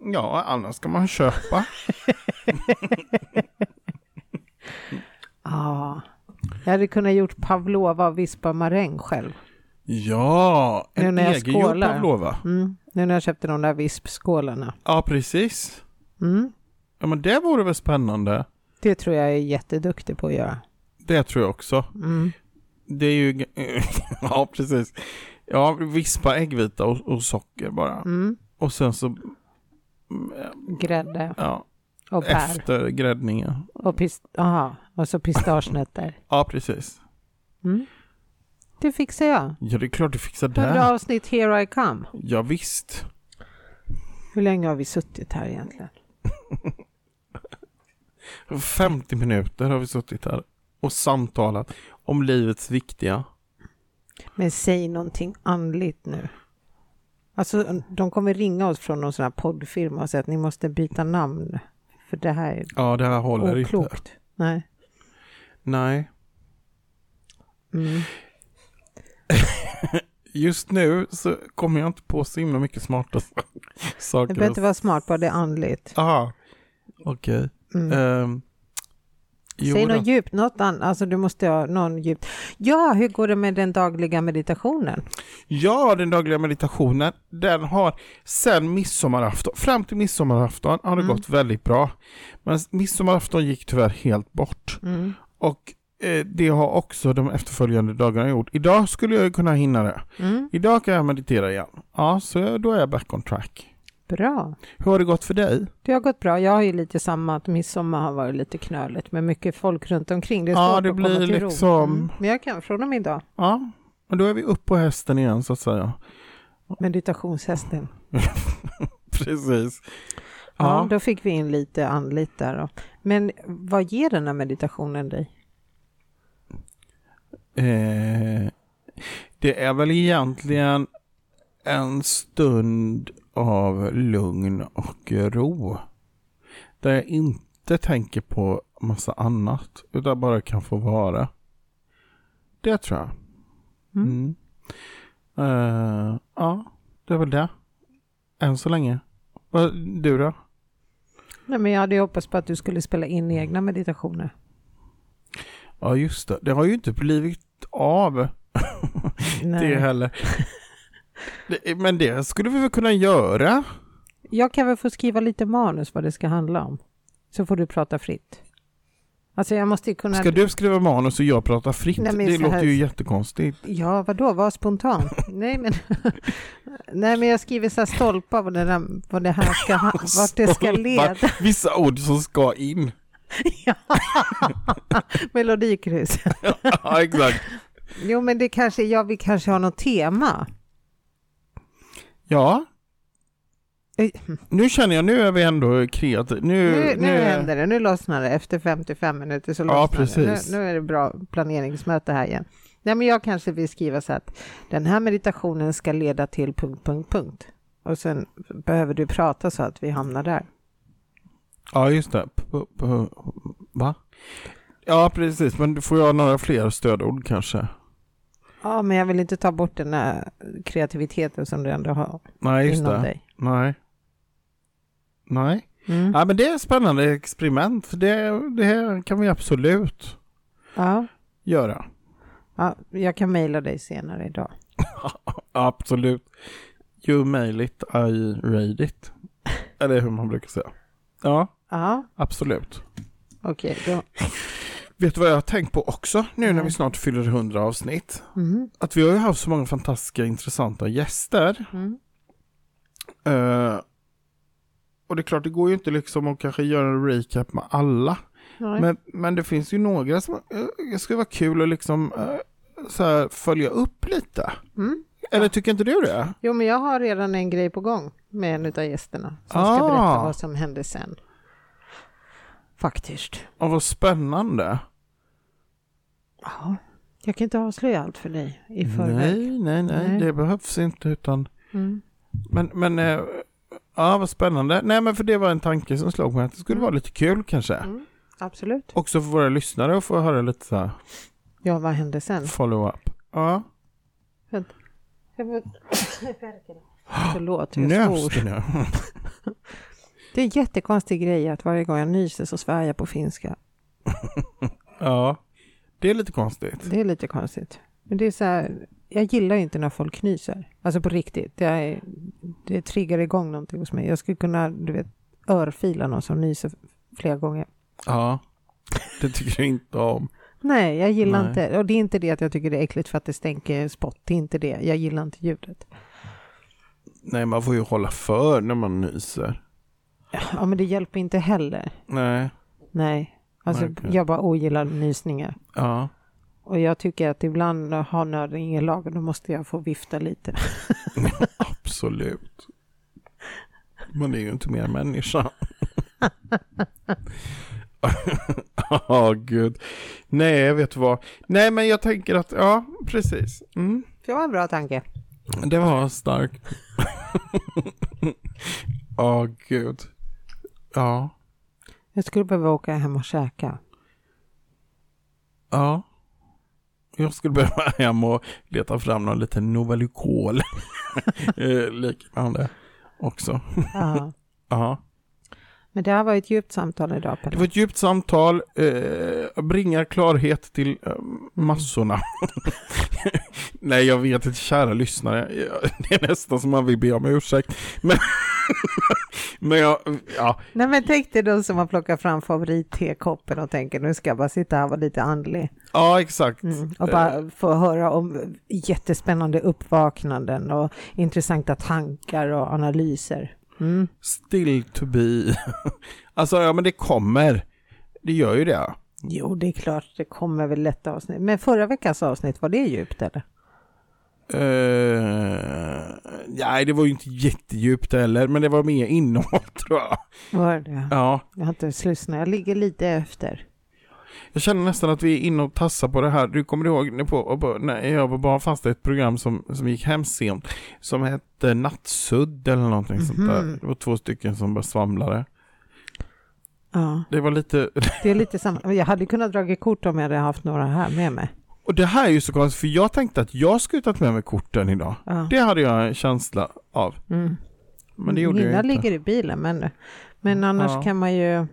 Speaker 1: Ja, annars ska man köpa.
Speaker 2: Ja. Jag hade kunnat gjort pavlova och vispa maräng själv.
Speaker 1: Ja,
Speaker 2: Nu
Speaker 1: en
Speaker 2: när jag
Speaker 1: egengjord
Speaker 2: skålar.
Speaker 1: pavlova.
Speaker 2: Mm. Nu när jag köpte de där vispskålarna.
Speaker 1: Ja, precis.
Speaker 2: Mm.
Speaker 1: Ja, men det vore väl spännande.
Speaker 2: Det tror jag är jätteduktig på att göra.
Speaker 1: Det tror jag också.
Speaker 2: Mm.
Speaker 1: Det är ju... ja, precis. Ja, vispa äggvita och, och socker bara.
Speaker 2: Mm.
Speaker 1: Och sen så
Speaker 2: Grädde
Speaker 1: ja,
Speaker 2: och bär.
Speaker 1: efter gräddningen.
Speaker 2: Och, pist- aha, och så pistagenötter.
Speaker 1: Ja, precis.
Speaker 2: Mm. Det fixar jag.
Speaker 1: Ja, det är klart du fixar
Speaker 2: 100
Speaker 1: det.
Speaker 2: avsnitt Here I Come.
Speaker 1: Ja, visst.
Speaker 2: Hur länge har vi suttit här egentligen?
Speaker 1: 50 minuter har vi suttit här och samtalat om livets viktiga.
Speaker 2: Men säg någonting andligt nu. Alltså, de kommer ringa oss från någon sån här poddfirma och säga att ni måste byta namn. För det här är
Speaker 1: Ja, det här håller inte.
Speaker 2: oklokt. Nej.
Speaker 1: Nej.
Speaker 2: Mm.
Speaker 1: Just nu så kommer jag inte på så himla mycket smarta
Speaker 2: Det
Speaker 1: saker.
Speaker 2: behöver inte vara smart, bara det är andligt.
Speaker 1: Aha. Okej.
Speaker 2: Mm.
Speaker 1: Ehm, jo
Speaker 2: Säg
Speaker 1: då.
Speaker 2: något djupt, något annat. Alltså, du måste ha någon djupt. Ja, hur går det med den dagliga meditationen?
Speaker 1: Ja, den dagliga meditationen, den har sedan midsommarafton, fram till midsommarafton har det
Speaker 2: Mm.
Speaker 1: gått väldigt bra. Men midsommarafton gick tyvärr helt bort.
Speaker 2: Mm.
Speaker 1: Och eh, det har också de efterföljande dagarna gjort. Idag skulle jag ju kunna hinna det.
Speaker 2: Mm.
Speaker 1: Idag kan jag meditera igen. Ja, så då är jag back on track.
Speaker 2: Bra.
Speaker 1: Hur har det gått för dig?
Speaker 2: Det har gått bra. Jag har ju lite samma, att midsommar har varit lite knöligt med mycket folk runt omkring. Det är svårt
Speaker 1: Ja, det
Speaker 2: att komma
Speaker 1: blir
Speaker 2: till ro. Mm.
Speaker 1: liksom-
Speaker 2: Men jag kan från och med idag.
Speaker 1: Ja, men då är vi upp på hästen igen så att säga.
Speaker 2: Meditationshästen.
Speaker 1: Precis.
Speaker 2: Ja,
Speaker 1: Ja,
Speaker 2: då fick vi in lite andligt där. Då. Men vad ger den här meditationen dig?
Speaker 1: eh, det är väl egentligen en stund av lugn och ro. Där jag inte tänker på massa annat, utan bara kan få vara. Det tror jag.
Speaker 2: Mm.
Speaker 1: Mm. Eh, ja, det är väl det. Än så länge. Vad- Du då?
Speaker 2: Nej, men jag hade ju hoppats på att du skulle spela in
Speaker 1: Mm.
Speaker 2: egna meditationer.
Speaker 1: Ja, just det. Det har ju inte blivit av
Speaker 2: Nej.
Speaker 1: det heller. Det- Men det skulle vi väl kunna göra?
Speaker 2: Jag kan väl få skriva lite manus vad det ska handla om. Så får du prata fritt. Alltså jag måste ju kunna...
Speaker 1: Ska du skriva manus och jag prata fritt?
Speaker 2: Nej, men
Speaker 1: det
Speaker 2: så
Speaker 1: låter
Speaker 2: här-
Speaker 1: ju jättekonstigt.
Speaker 2: Ja, vadå, var spontan. Nej, men... Nej, men jag skriver så här stolpar vad det, där, vad det här ska... ha- Vart det ska leda.
Speaker 1: Vissa ord som ska in.
Speaker 2: Melodikryss.
Speaker 1: ja, exakt.
Speaker 2: Jo, men det kanske... Jag vill kanske ha något tema.
Speaker 1: Ja.
Speaker 2: Oj.
Speaker 1: Nu känner jag, nu är vi ändå kreativa. Nu,
Speaker 2: Nu, nu händer det, nu lossnar det. Efter 55 minuter så
Speaker 1: Ja,
Speaker 2: lossnar
Speaker 1: precis.
Speaker 2: det. Nu, nu är det bra planeringsmöte här igen. Nej, men jag kanske vill skriva så att den här meditationen ska leda till punkt, punkt, punkt. Och sen behöver du prata så att vi hamnar där.
Speaker 1: Ja, just det. P- p- p- Va? Ja, precis. Men du får jag några fler stödord kanske?
Speaker 2: Ja, men jag vill inte ta bort den här kreativiteten som du ändå har
Speaker 1: Nej, just
Speaker 2: inom
Speaker 1: det.
Speaker 2: dig.
Speaker 1: Nej. Nej.
Speaker 2: Mm.
Speaker 1: Ja, men det är ett spännande experiment. Det, det här kan vi absolut
Speaker 2: Ja,
Speaker 1: göra.
Speaker 2: ja, jag kan mejla dig senare idag.
Speaker 1: Absolut. You mail it, I read it. Eller hur man brukar säga. Ja,
Speaker 2: Ja,
Speaker 1: absolut.
Speaker 2: okej. då.
Speaker 1: Vet du vad jag har tänkt på också nu när vi
Speaker 2: Nej.
Speaker 1: snart fyller 100 avsnitt?
Speaker 2: Mm,
Speaker 1: Att vi har ju haft så många fantastiska intressanta gäster.
Speaker 2: mm.
Speaker 1: Eh, och det är klart, det går ju inte liksom att kanske göra en recap med alla.
Speaker 2: Nej.
Speaker 1: Men, men det finns ju några som eh, skulle vara kul att liksom eh, så här, följa upp lite.
Speaker 2: Mm.
Speaker 1: Eller tycker inte du det?
Speaker 2: Jo, men jag har redan en grej på gång med en av gästerna som
Speaker 1: Ah.
Speaker 2: ska berätta vad som hände sen. Faktiskt.
Speaker 1: Och vad spännande.
Speaker 2: Ja, jag kan inte avslöja allt för dig i förväg.
Speaker 1: Nej, nej, nej,
Speaker 2: Nej.
Speaker 1: det behövs inte utan.
Speaker 2: Mm.
Speaker 1: Men, men eh, ja, vad spännande. Nej, men för det var en tanke som slog mig att det skulle vara lite kul kanske.
Speaker 2: Mm. Absolut.
Speaker 1: Också för våra lyssnare att få höra lite så här
Speaker 2: Ja, vad hände sen?
Speaker 1: follow-up. Ja,
Speaker 2: Jag får- Förlåt, jag
Speaker 1: nös
Speaker 2: svor.
Speaker 1: det nu.
Speaker 2: Det är en jättekonstig grej att varje gång jag nyser så svär jag på finska.
Speaker 1: ja, det är lite konstigt.
Speaker 2: Det är lite konstigt. Men det är så här, jag gillar ju inte när folk nyser. Alltså på riktigt. Det, är, det triggar igång någonting hos mig. Jag skulle kunna, du vet, örfila någon som nyser flera gånger.
Speaker 1: Ja, det tycker jag inte om.
Speaker 2: Nej, jag gillar
Speaker 1: Nej.
Speaker 2: inte. Och det är inte det att jag tycker det är äckligt för att det stänker spott. Det är inte det. Jag gillar inte ljudet.
Speaker 1: Nej, man får ju hålla för när man nyser.
Speaker 2: Ja, men det hjälper inte heller.
Speaker 1: Nej.
Speaker 2: Nej. Alltså,
Speaker 1: Nej, okej.
Speaker 2: jag bara ogillar nysningar.
Speaker 1: Ja.
Speaker 2: Och jag tycker att ibland har nörden ingen lag och då måste jag få vifta lite.
Speaker 1: Absolut. Man är ju inte mer människa. Ja, gud. Nej, vet du vad? Nej, men jag tänker att, ja, precis. Mm.
Speaker 2: Det var en bra tanke.
Speaker 1: Det var starkt. Ja, gud. Ja,
Speaker 2: Jag skulle behöva åka hem och käka.
Speaker 1: ja. Jag skulle behöva hem och leta fram någon liten Novalucol. Eh, Liknande också.
Speaker 2: Ja.
Speaker 1: Ja.
Speaker 2: Men det här var ett djupt samtal idag.
Speaker 1: Det
Speaker 2: Pelle.
Speaker 1: var ett djupt samtal, eh, bringar klarhet till eh, massorna. Nej, jag vet inte, kära lyssnare, jag- det är nästan som man vill be om ursäkt. Men, men jag, ja,
Speaker 2: Nej men tänk dig de som har plockat fram favorittekoppen och tänker nu ska jag bara sitta här och vara lite andlig.
Speaker 1: ja exakt.
Speaker 2: Mm. Och bara få höra om jättespännande uppvaknanden och intressanta tankar och analyser. Mm.
Speaker 1: Still to be. alltså, ja men det kommer. Det gör ju det.
Speaker 2: Jo, det är klart, det kommer väl lätta avsnitt. Men förra veckans avsnitt, var det djupt eller?
Speaker 1: Eh, nej, det var ju inte jättedjupt heller, men det var mer innehåll tror jag.
Speaker 2: Var det?
Speaker 1: Ja.
Speaker 2: Jag har inte ens lyssnat, jag ligger lite efter.
Speaker 1: Jag känner nästan att vi är inne och tassar på det här. Du kommer ihåg när, på, och på, när jag var barn fanns det ett program som, som gick hem sent som hette Nattsudd eller någonting sånt där.
Speaker 2: Mhm.
Speaker 1: Det var två stycken som bara svamlade.
Speaker 2: Ja,
Speaker 1: Det var lite...
Speaker 2: det är lite samma. Jag hade kunnat dra kort om jag hade haft några här med mig.
Speaker 1: Och det här är ju så konstigt för jag tänkte att jag skulle tagit med mig korten idag.
Speaker 2: Ja.
Speaker 1: Det hade jag en känsla av.
Speaker 2: Mm.
Speaker 1: Men det gjorde
Speaker 2: Mina
Speaker 1: jag inte.
Speaker 2: ligger i bilen, men, men annars
Speaker 1: Ja.
Speaker 2: kan man ju...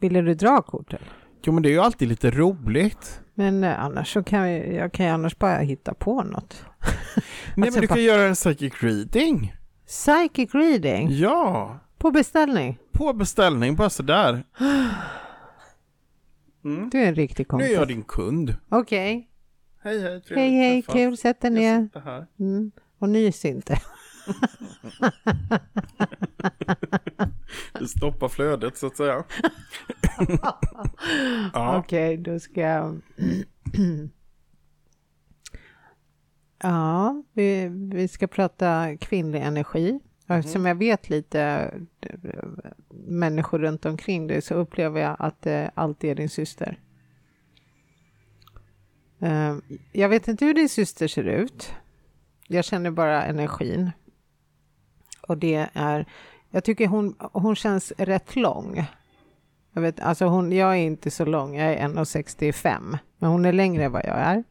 Speaker 2: Ville du dra korten?
Speaker 1: Jo men det är ju alltid lite roligt.
Speaker 2: Men eh, annars så kan jag, jag kan ju annars bara hitta på något.
Speaker 1: Nej
Speaker 2: Alltså,
Speaker 1: men du
Speaker 2: bara-
Speaker 1: kan göra en psychic reading.
Speaker 2: Psychic reading
Speaker 1: Ja.
Speaker 2: på beställning.
Speaker 1: På beställning bara sådär. Mm.
Speaker 2: Du är en riktig
Speaker 1: Nu är
Speaker 2: kompis.
Speaker 1: jag din kund.
Speaker 2: Okej,
Speaker 1: Hej hej, trevligt
Speaker 2: hej hej,
Speaker 1: att träffa.
Speaker 2: kul, sätt dig
Speaker 1: Jag
Speaker 2: ner.
Speaker 1: sitter här.
Speaker 2: Mm. Och nys inte.
Speaker 1: Vi stoppar flödet så att säga. ja,
Speaker 2: Okej, då ska jag... ja, vi, vi ska prata kvinnlig energi. Och Eftersom jag vet lite eh, människor runt omkring dig så upplever jag att det alltid är din syster. Eh, Jag vet inte hur din syster ser ut. Jag känner bara energin. Och det är, jag tycker hon, hon känns rätt lång. Jag, vet, alltså hon, jag är inte så lång, jag är 1,65, men hon är längre än vad jag är.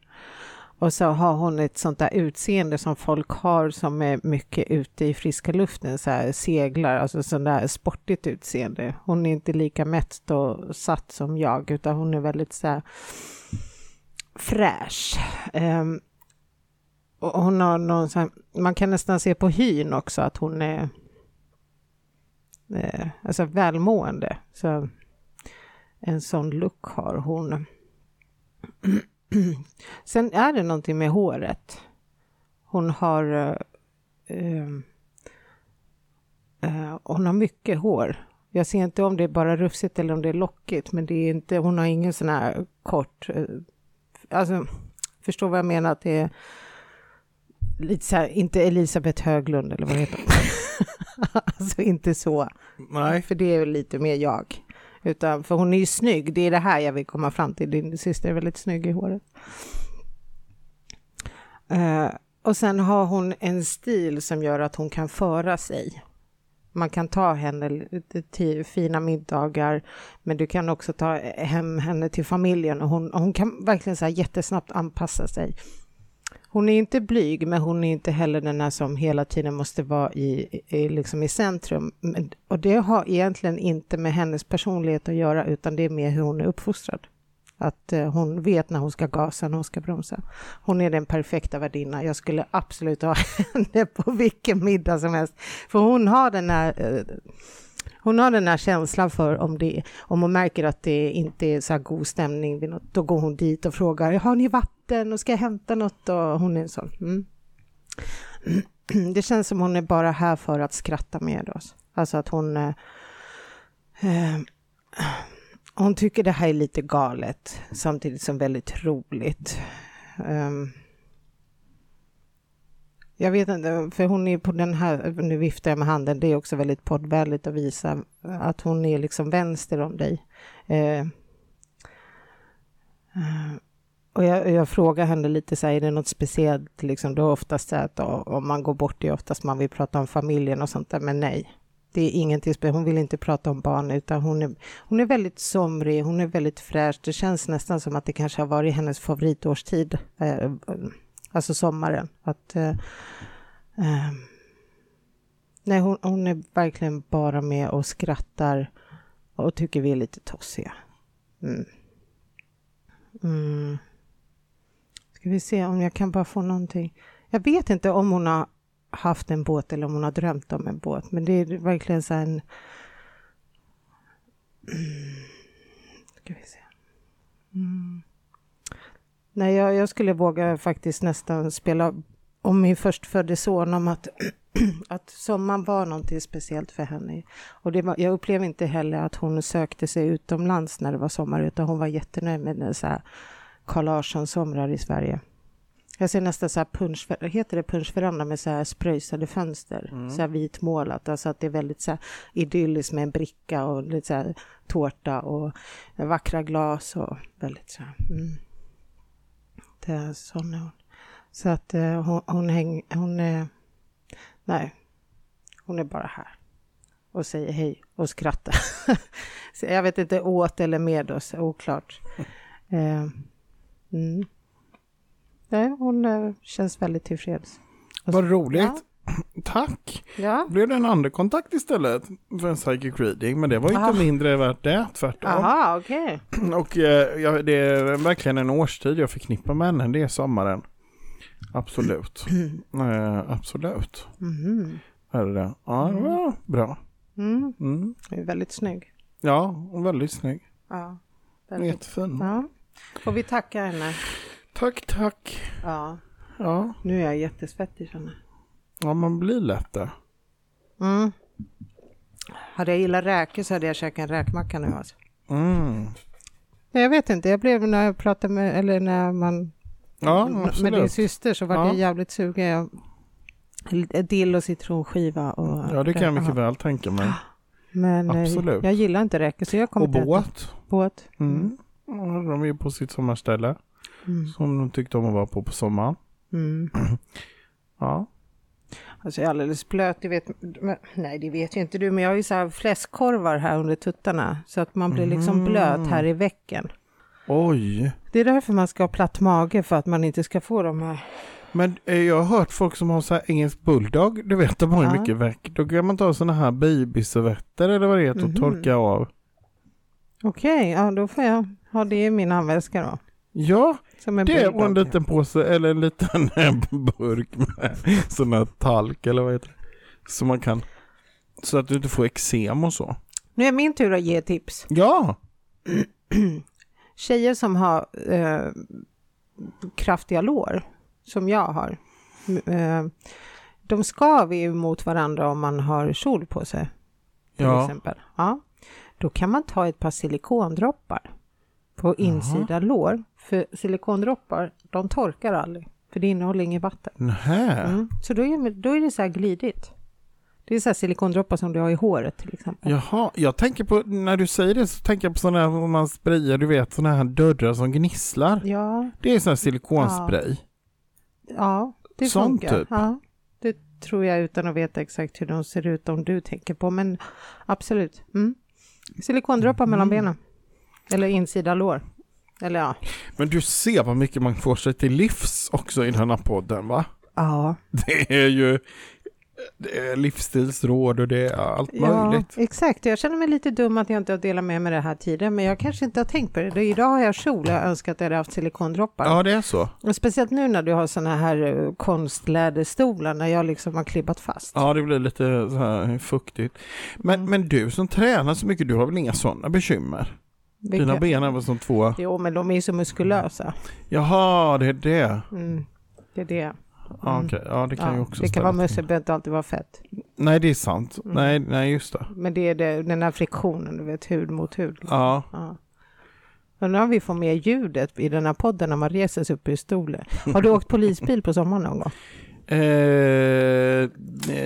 Speaker 2: Och så har hon ett sånt där utseende som folk har som är mycket ute i friska luften, så här seglar, alltså sånt där sportigt utseende. Hon är inte lika mätt och satt som jag, utan hon är väldigt så här fräsch. Ehm, och hon har någon sån här, man kan nästan se på hyn också att hon är eh, alltså välmående. Så en sån look har hon. Sen är det någonting med håret. Hon har eh, eh, eh, hon har mycket hår. Jag ser inte om det är bara rufsigt eller om det är lockigt, men det är inte, hon har ingen sån här kort, eh, alltså, förstår vad jag menar att det är lite så här, inte Elisabeth Höglund eller vad heter hon? alltså inte så.
Speaker 1: nej.
Speaker 2: För det är ju lite mer jag. Utan, för hon är ju snygg, det är det här jag vill komma fram till. Din syster är väldigt snygg i håret. Eh, och sen har hon en stil som gör att hon kan föra sig. Man kan ta henne till fina middagar, men du kan också ta hem henne till familjen och hon, och hon kan verkligen så här jättesnabbt anpassa sig. Hon är inte blyg, men hon är inte heller den här som hela tiden måste vara i, i, liksom i centrum. Men, och det har egentligen inte med hennes personlighet att göra, utan det är mer hur hon är uppfostrad. Att eh, hon vet när hon ska gasa, när hon ska bromsa. Hon är den perfekta värdinnan. Jag skulle absolut ha henne på vilken middag som helst. För hon har den här, eh, hon har den här känslan för om, det, om hon märker att det inte är så här god stämning, vid något, då går hon dit och frågar har ni vatten och ska jag hämta något? Och hon är en sån. Mm. Det känns som hon är bara här för att skratta med oss. Alltså att hon... Eh, eh, hon tycker det här är lite galet, samtidigt som väldigt roligt. Ehm, jag vet inte, för hon är på den här, nu viftar jag med handen, det är också väldigt poddvänligt att visa att hon är liksom vänster om dig. Eh, eh, och jag, jag frågar henne lite så här, är det något speciellt, liksom, det är oftast så här att ja, om man går bort, det är oftast man vill prata om familjen och sånt där, men nej. Det är ingenting speciellt, hon vill inte prata om barn utan hon är, hon är väldigt somrig, hon är väldigt fräsch. Det känns nästan som att det kanske har varit hennes favoritårstid, eh, alltså sommaren. Att, eh, eh, nej, hon, hon är verkligen bara med och skrattar och tycker vi är lite tossiga. Mm. Mm. Ska vi se om jag kan bara få någonting. Jag vet inte om hon har haft en båt eller om hon har drömt om en båt, men det är verkligen så här en... Mm. Ska vi se. Mm. Nej, jag, jag skulle våga faktiskt nästan spela om min förstfödde son om att, att sommaren var någonting speciellt för henne. Och det var, jag upplevde inte heller att hon sökte sig utomlands när det var sommar, utan hon var jättenöjd med den så här Carl Larsson-somrar i Sverige. Jag ser nästan så här punsch, heter det punschveranda med så här spröjsade fönster, så här vitmålat, alltså att det är väldigt så här idylliskt med en bricka och lite så här tårta och vackra glas och väldigt så här. Mm. Det är sån är hon. Så att eh, hon, hon häng, hon är, nej, hon är bara här och säger hej och skrattar. så jag vet inte åt eller med oss, oklart. Eh, mm. Nej, hon eh, känns väldigt tillfreds.
Speaker 1: Vad roligt.
Speaker 2: Alltså, Ja.
Speaker 1: Tack.
Speaker 2: Ja,
Speaker 1: Blev det en andekontakt istället för en psychic reading, men det var ju
Speaker 2: Ah.
Speaker 1: inte mindre värt det, tvärtom.
Speaker 2: aha, okej.
Speaker 1: Och eh, jag, det är verkligen en årstid jag förknippar med henne, det är sommaren. Absolut. eh, absolut.
Speaker 2: Mhm.
Speaker 1: Är det det? Ja, det var bra.
Speaker 2: Mm.
Speaker 1: Mm.
Speaker 2: Hon är väldigt snygg.
Speaker 1: Ja, hon är väldigt snygg.
Speaker 2: Ja,
Speaker 1: Hon är
Speaker 2: väldigt.
Speaker 1: jättefin.
Speaker 2: Ja. Och vi tackar henne.
Speaker 1: Tack, tack.
Speaker 2: Ja,
Speaker 1: Ja.
Speaker 2: nu är jag jättesvettig känner jag.
Speaker 1: ja, man blir lätt det.
Speaker 2: Mm. Hade jag gillat räkor så hade jag käkat en räkmacka nu alltså.
Speaker 1: Mm.
Speaker 2: Nej, jag vet inte, jag blev när jag pratade med, eller när man,
Speaker 1: Ja,
Speaker 2: med din
Speaker 1: absolut.
Speaker 2: syster så var
Speaker 1: Ja.
Speaker 2: jag jävligt sugen. Jag, lite dill och citronskiva och...
Speaker 1: Ja, det kan jag mycket
Speaker 2: Ja.
Speaker 1: väl tänka mig.
Speaker 2: Men eh,
Speaker 1: Absolut.
Speaker 2: jag gillar inte räkor så jag kommer
Speaker 1: Och
Speaker 2: inte äta
Speaker 1: båt.
Speaker 2: båt.
Speaker 1: Mm. Ja, De är ju på sitt sommarställe
Speaker 2: Mm.
Speaker 1: som de tyckte om att vara på på sommaren.
Speaker 2: Mm.
Speaker 1: Ja.
Speaker 2: Alltså jag är alldeles blöt, det vet, men, nej det vet ju inte du, men jag har ju så här fläskkorvar här under tuttarna så att man blir
Speaker 1: Mm.
Speaker 2: liksom blöt här i veckan.
Speaker 1: Oj.
Speaker 2: Det är därför man ska ha platt mage för att man inte ska få de här.
Speaker 1: Men eh, jag har hört folk som har så här engelsk bulldog, du vet de har ju
Speaker 2: Ja.
Speaker 1: mycket verk. Då kan man ta sådana här babyservetter eller vad det heter och
Speaker 2: Mhm.
Speaker 1: torka av.
Speaker 2: Okej, ja då får jag ha det i min handväska då.
Speaker 1: Ja,
Speaker 2: Som en
Speaker 1: det och en
Speaker 2: bulldog.
Speaker 1: liten påse eller en liten burk med sån här talk eller vad heter det? Som man kan, så att du inte får eksem och så.
Speaker 2: Nu är min tur att ge tips.
Speaker 1: Ja,
Speaker 2: Tjejer som har eh, kraftiga lår, som jag har, m- eh, de skaver ju mot varandra om man har kjol på sig. till
Speaker 1: ja.
Speaker 2: exempel. Ja. Då kan man ta ett par silikondroppar på insida lår. För silikondroppar, de torkar aldrig, för det innehåller inget vatten.
Speaker 1: Nähä.
Speaker 2: Mm. Så då är, då är det så här glidigt. Det är så här silikondroppar som du har i håret till exempel.
Speaker 1: Jaha, jag tänker på, när du säger det så tänker jag på sådana här, om man sprayar, du vet sådana här dörrar som gnisslar.
Speaker 2: Ja,
Speaker 1: Det är sån här silikonspray.
Speaker 2: ja det
Speaker 1: Sån
Speaker 2: funkar.
Speaker 1: typ.
Speaker 2: Ja, det tror jag utan att veta exakt hur de ser ut om du tänker på, men absolut. Mm. Silikondroppar mellan
Speaker 1: Mm.
Speaker 2: benen. Eller insida lår. Eller ja.
Speaker 1: Men du ser vad mycket man får sig till livs också i den här podden va?
Speaker 2: Ja,
Speaker 1: Det är ju det är livsstilsråd och det är allt möjligt.
Speaker 2: Ja, exakt. Jag känner mig lite dum att jag inte har delat med mig det här tiden, men jag kanske inte har tänkt på det. det. Idag har jag kjol jag önskar att jag hade haft silikondroppar.
Speaker 1: Ja, det är så.
Speaker 2: Och speciellt nu när du har sådana här eh, konstläderstolar, när jag liksom har klibbat fast.
Speaker 1: Ja, det blir lite så här fuktigt. Men,
Speaker 2: Mm.
Speaker 1: men du som tränar så mycket, du har väl inga sådana bekymmer?
Speaker 2: Vilka-
Speaker 1: Dina ben är väl som två?
Speaker 2: Jo, men de är ju så muskulösa.
Speaker 1: Jaha, det är det.
Speaker 2: Mm, det är det.
Speaker 1: Ja, okej. ja det kan ju
Speaker 2: Ja,
Speaker 1: också
Speaker 2: det kan
Speaker 1: ställa
Speaker 2: vara
Speaker 1: till.
Speaker 2: möss, det behöver inte alltid vara fett.
Speaker 1: Nej, det är sant.
Speaker 2: Mm.
Speaker 1: Nej, nej, just det.
Speaker 2: Men det är det, den här friktionen, du vet, hud mot hud. Liksom.
Speaker 1: Ja,
Speaker 2: Ja. Undrar om vi får med ljudet i den här podden när man reser sig upp ur stolen. Har du åkt polisbil på sommaren någon gång?
Speaker 1: eh,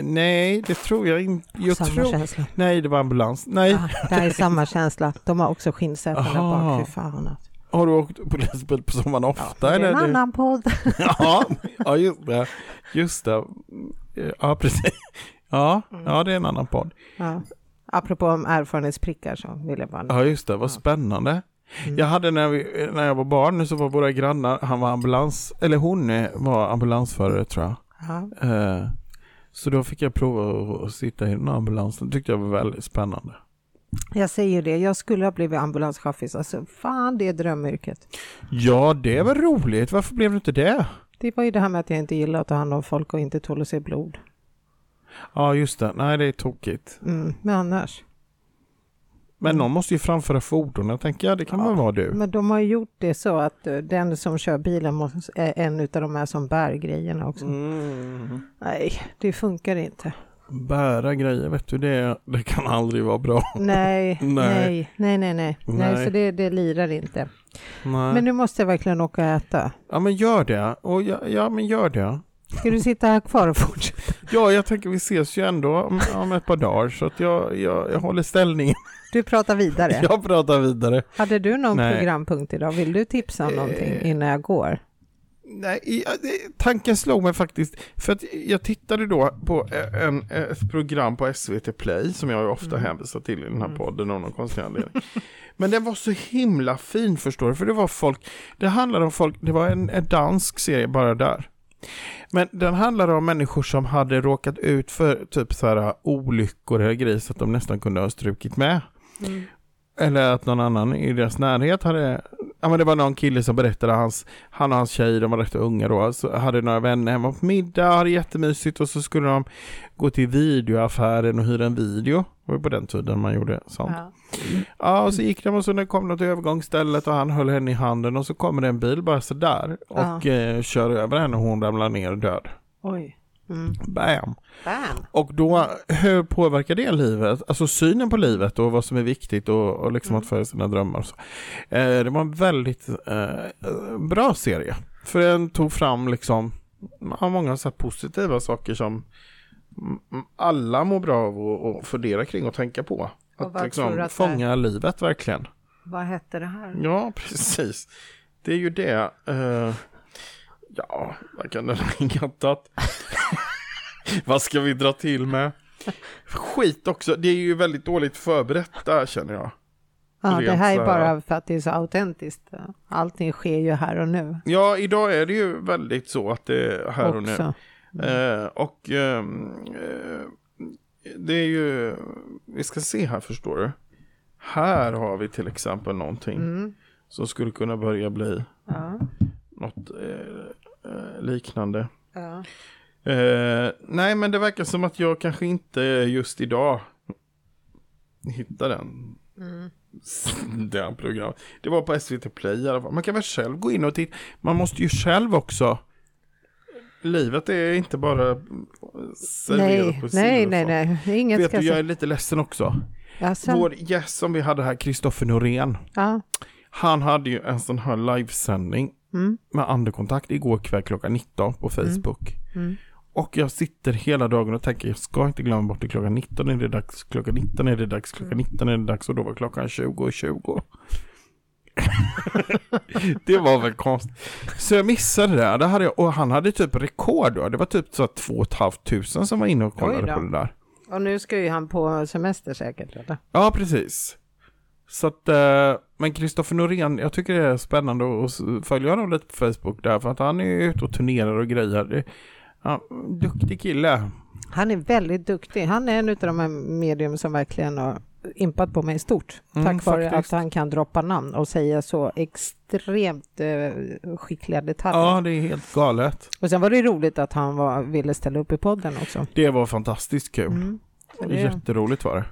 Speaker 1: nej, det tror jag inte. Jag
Speaker 2: samma
Speaker 1: tror...
Speaker 2: känsla.
Speaker 1: Nej, det var ambulans. Nej,
Speaker 2: Ah, det här är samma känsla. De har också skinnsäten där
Speaker 1: Aha.
Speaker 2: bak. Fy fan. alltså.
Speaker 1: har du åkt polisbil på sommaren
Speaker 2: Ja,
Speaker 1: ofta?
Speaker 2: det är en
Speaker 1: eller?
Speaker 2: annan podd.
Speaker 1: ja, ja, just det. Just det. Ja, precis. Ja, ja, det är en annan podd.
Speaker 2: Ja. Apropå om erfarenhetsprickar så vill jag bara...
Speaker 1: Ja, just det. Vad spännande.
Speaker 2: Mm.
Speaker 1: Jag hade när, vi, när jag var barn så var våra grannar, han var ambulans, eller hon eh, var ambulansförare tror jag.
Speaker 2: Ja.
Speaker 1: Eh, Så då fick jag prova att- att sitta i den här ambulansen. Det tyckte jag var väldigt spännande.
Speaker 2: Jag säger ju det, jag skulle ha blivit ambulanschaufför. Alltså, fan, det är drömyrket.
Speaker 1: Ja, det var roligt. Varför blev det inte det?
Speaker 2: Det var ju det här med att jag inte gillar att ta hand om folk och inte tål att se blod.
Speaker 1: Ja, just det. Nej, det är tokigt.
Speaker 2: Mm. Men annars.
Speaker 1: Men någon måste ju framföra fordonen, tänker jag. Det kan
Speaker 2: Ja.
Speaker 1: väl vara du?
Speaker 2: Men de har ju gjort det så att eh, den som kör bilen måste, är en av de här som bär grejerna också.
Speaker 1: Mm.
Speaker 2: Nej, det funkar inte.
Speaker 1: Bära grejer, vet du det? Det kan aldrig vara bra.
Speaker 2: Nej,
Speaker 1: Nej.
Speaker 2: nej, nej, nej, nej, nej.
Speaker 1: Nej.
Speaker 2: så det, det lirar inte.
Speaker 1: Nej.
Speaker 2: Men nu måste jag verkligen åka och äta.
Speaker 1: Ja, men gör det. Och ja, ja, men gör det.
Speaker 2: Ska du sitta här kvar och fortsätta?
Speaker 1: Ja, jag tänker vi ses ju ändå om, om ett par dagar, så att jag, jag, jag håller ställningen.
Speaker 2: Du pratar vidare.
Speaker 1: Jag pratar vidare.
Speaker 2: Hade du någon
Speaker 1: Nej.
Speaker 2: programpunkt idag? Vill du tipsa om någonting
Speaker 1: Eh.
Speaker 2: innan jag går?
Speaker 1: Nej, i- ja, det- tanken slog mig faktiskt, för att jag tittade då på eh, en, ett program på SVT Play, som jag ju ofta hänvisar till i den här podden av någon konstig anledning. Men den var så himla fin förstår du, för det var folk, det handlade om folk, det var en, en dansk serie bara där. Men den handlade om människor som hade råkat ut för typ så här olyckor eller grejer så att de nästan kunde ha strukit med.
Speaker 2: Mm.
Speaker 1: Eller att någon annan i deras närhet hade, ja men det var någon kille som berättade hans, han och hans tjej, de var rätt unga då, så hade några vänner hemma på middag, hade jättemysigt och så skulle de gå till videoaffären och hyra en video. Det var ju på den tiden man gjorde sånt. Ja.
Speaker 2: Ja.
Speaker 1: och så gick de och så när kom de till övergångsstället och han höll henne i handen och så kommer det en bil bara sådär och eh, kör över henne och hon ramlar ner död.
Speaker 2: Oj. Mm.
Speaker 1: Bam!
Speaker 2: Bam.
Speaker 1: Och då, hur påverkar det livet? Alltså synen på livet och vad som är viktigt och, och liksom
Speaker 2: Mm.
Speaker 1: att följa sina drömmar. och Så. Eh, det var en väldigt eh, bra serie. För den tog fram liksom, ja, många så här positiva saker som mm, alla mår bra av att att fundera kring och tänka på.
Speaker 2: Och
Speaker 1: Att
Speaker 2: vad tror
Speaker 1: liksom
Speaker 2: du att det är?
Speaker 1: fånga livet verkligen.
Speaker 2: Vad hette det här?
Speaker 1: Ja, precis. Det är ju det. eh, ja, vad kan den ha ingattat? vad ska vi dra till med? Skit också. Det är ju väldigt dåligt förberett där känner jag.
Speaker 2: Ja, det
Speaker 1: Rent
Speaker 2: här
Speaker 1: så
Speaker 2: är
Speaker 1: här.
Speaker 2: bara för att det är så autentiskt. Allting sker ju här och nu.
Speaker 1: Ja, idag är det ju väldigt så att det är här och nu.
Speaker 2: också.
Speaker 1: Eh, och ehm, eh, det är ju, vi ska se här förstår du. Här har vi till exempel någonting
Speaker 2: Mm.
Speaker 1: som skulle kunna börja bli
Speaker 2: Ja.
Speaker 1: något eh, eh, liknande.
Speaker 2: Ja.
Speaker 1: Eh, nej, men det verkar som att jag kanske inte just idag hittar den.
Speaker 2: Mm.
Speaker 1: Den program. Det var på SVT Play i alla fall. Man kan väl själv gå in och titta. Man måste ju själv också. Livet är inte bara serverat
Speaker 2: Nej,
Speaker 1: på ett
Speaker 2: nej,
Speaker 1: silverfat.
Speaker 2: nej, nej. Inget
Speaker 1: Vet
Speaker 2: ska
Speaker 1: du, jag är lite ledsen också.
Speaker 2: Alltså,
Speaker 1: Vår gäst som vi hade här, Kristoffer Norén.
Speaker 2: ja.
Speaker 1: Han hade ju en sån här livesändning
Speaker 2: Mm.
Speaker 1: med andekontakt igår kväll klockan 19 på Facebook.
Speaker 2: Mm.
Speaker 1: Och jag sitter hela dagen och tänker jag ska inte glömma bort det klockan 19 är det dags, klockan 19 är det dags, klockan 19 är det dags och då var klockan 20 och 20. det var väl konstigt. Så jag missade det. där. det hade jag, och han hade typ rekord då. Det var typ så att 2 500 som var inne och
Speaker 2: Oj
Speaker 1: kollade
Speaker 2: då.
Speaker 1: på det där.
Speaker 2: Och nu ska ju han på semester säkert. Eller?
Speaker 1: Ja, precis. Så att, eh, men Kristoffer Norén, jag tycker det är spännande att- att s- följa honom lite på Facebook där, för att han är ju ute och turnerar och grejer. Det- Ja, duktig kille.
Speaker 2: Han är väldigt duktig. Han är en av de här medium som verkligen har impat på mig stort.
Speaker 1: Mm,
Speaker 2: tack vare
Speaker 1: faktiskt.
Speaker 2: att han kan droppa namn och säga så extremt eh, skickliga detaljer.
Speaker 1: Ja, det är helt galet.
Speaker 2: Och sen var det ju roligt att han var, ville ställa upp i podden också.
Speaker 1: Mm, Det var fantastiskt kul.
Speaker 2: Mm. Så det-
Speaker 1: Jätteroligt var det.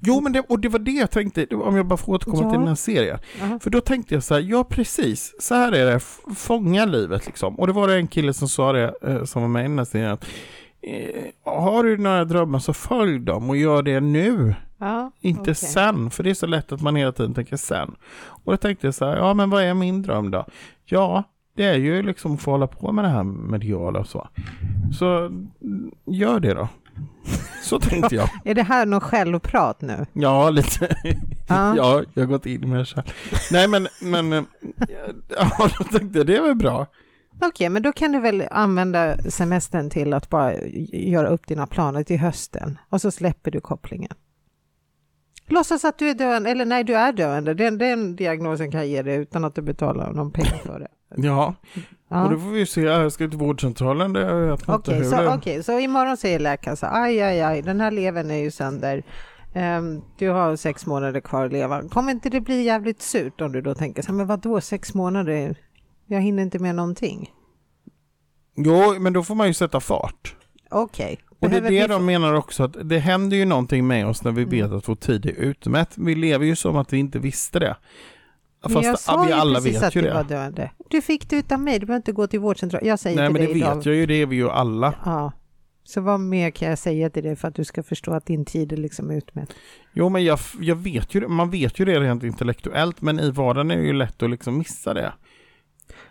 Speaker 1: Jo, men det, och det var det jag tänkte, det var- om jag bara får återkomma
Speaker 2: Ja.
Speaker 1: till den här serien.
Speaker 2: Jaha.
Speaker 1: För då tänkte jag så här, ja precis, så här är det, F- fånga livet liksom. Och det var det en kille som sa det, eh, som var med i den här serien, att eh, har du några drömmar så följ dem och gör det nu,
Speaker 2: Ja,
Speaker 1: inte
Speaker 2: okej.
Speaker 1: sen. För det är så lätt att man hela tiden tänker sen. Och då tänkte jag så här, ja men vad är min dröm då? Ja, det är ju liksom att få hålla på med det här mediala och så. Så mm, gör det då. Så tänkte jag.
Speaker 2: Är det här något självprat nu?
Speaker 1: Ja, lite.
Speaker 2: Ja.
Speaker 1: Ja, jag har gått in med det så här. Nej, men, men eh, ja, då tänkte jag, det var bra.
Speaker 2: Okej, men då kan du väl använda semestern till att bara göra upp dina planer till hösten och så släpper du kopplingen. Låtsas att du är döende, eller nej, du är döende. Den, den diagnosen kan jag ge dig utan att du betalar någon pengar för det.
Speaker 1: Ja, och då
Speaker 2: Ja.
Speaker 1: får vi se. Jag ska till vårdcentralen. Det jag vet inte
Speaker 2: Okej,
Speaker 1: hur
Speaker 2: så,
Speaker 1: det-
Speaker 2: okej, så imorgon säger läkaren så aj, aj, aj, den här levern är ju sönder. Ehm, du har sex månader kvar att leva. Kommer inte det bli jävligt surt om du då tänker så här, men vadå sex månader? Jag hinner inte med någonting.
Speaker 1: Jo, men då får man ju sätta fart.
Speaker 2: Okej.
Speaker 1: Och det är
Speaker 2: Behöver
Speaker 1: det
Speaker 2: vi- Mm.
Speaker 1: de menar också, att det händer ju någonting med oss när vi vet att vår tid är utmätt. Vi lever ju som att vi inte visste det.
Speaker 2: Men
Speaker 1: Fast
Speaker 2: jag sa
Speaker 1: vi
Speaker 2: ju
Speaker 1: alla
Speaker 2: precis
Speaker 1: vet
Speaker 2: att
Speaker 1: ju
Speaker 2: du
Speaker 1: det.
Speaker 2: var döende. Du fick det utan mig, du behöver inte gå till vårdcentralen. Jag säger
Speaker 1: Nej,
Speaker 2: till
Speaker 1: men det
Speaker 2: dig
Speaker 1: vet
Speaker 2: idag.
Speaker 1: jag ju. Det är vi ju alla.
Speaker 2: Ja. Så vad mer kan jag säga till dig för att du ska förstå att din tid är liksom utmätt?
Speaker 1: Jo, men jag, jag vet ju det. Man vet ju det rent intellektuellt, men i vardagen är det ju lätt att liksom missa det.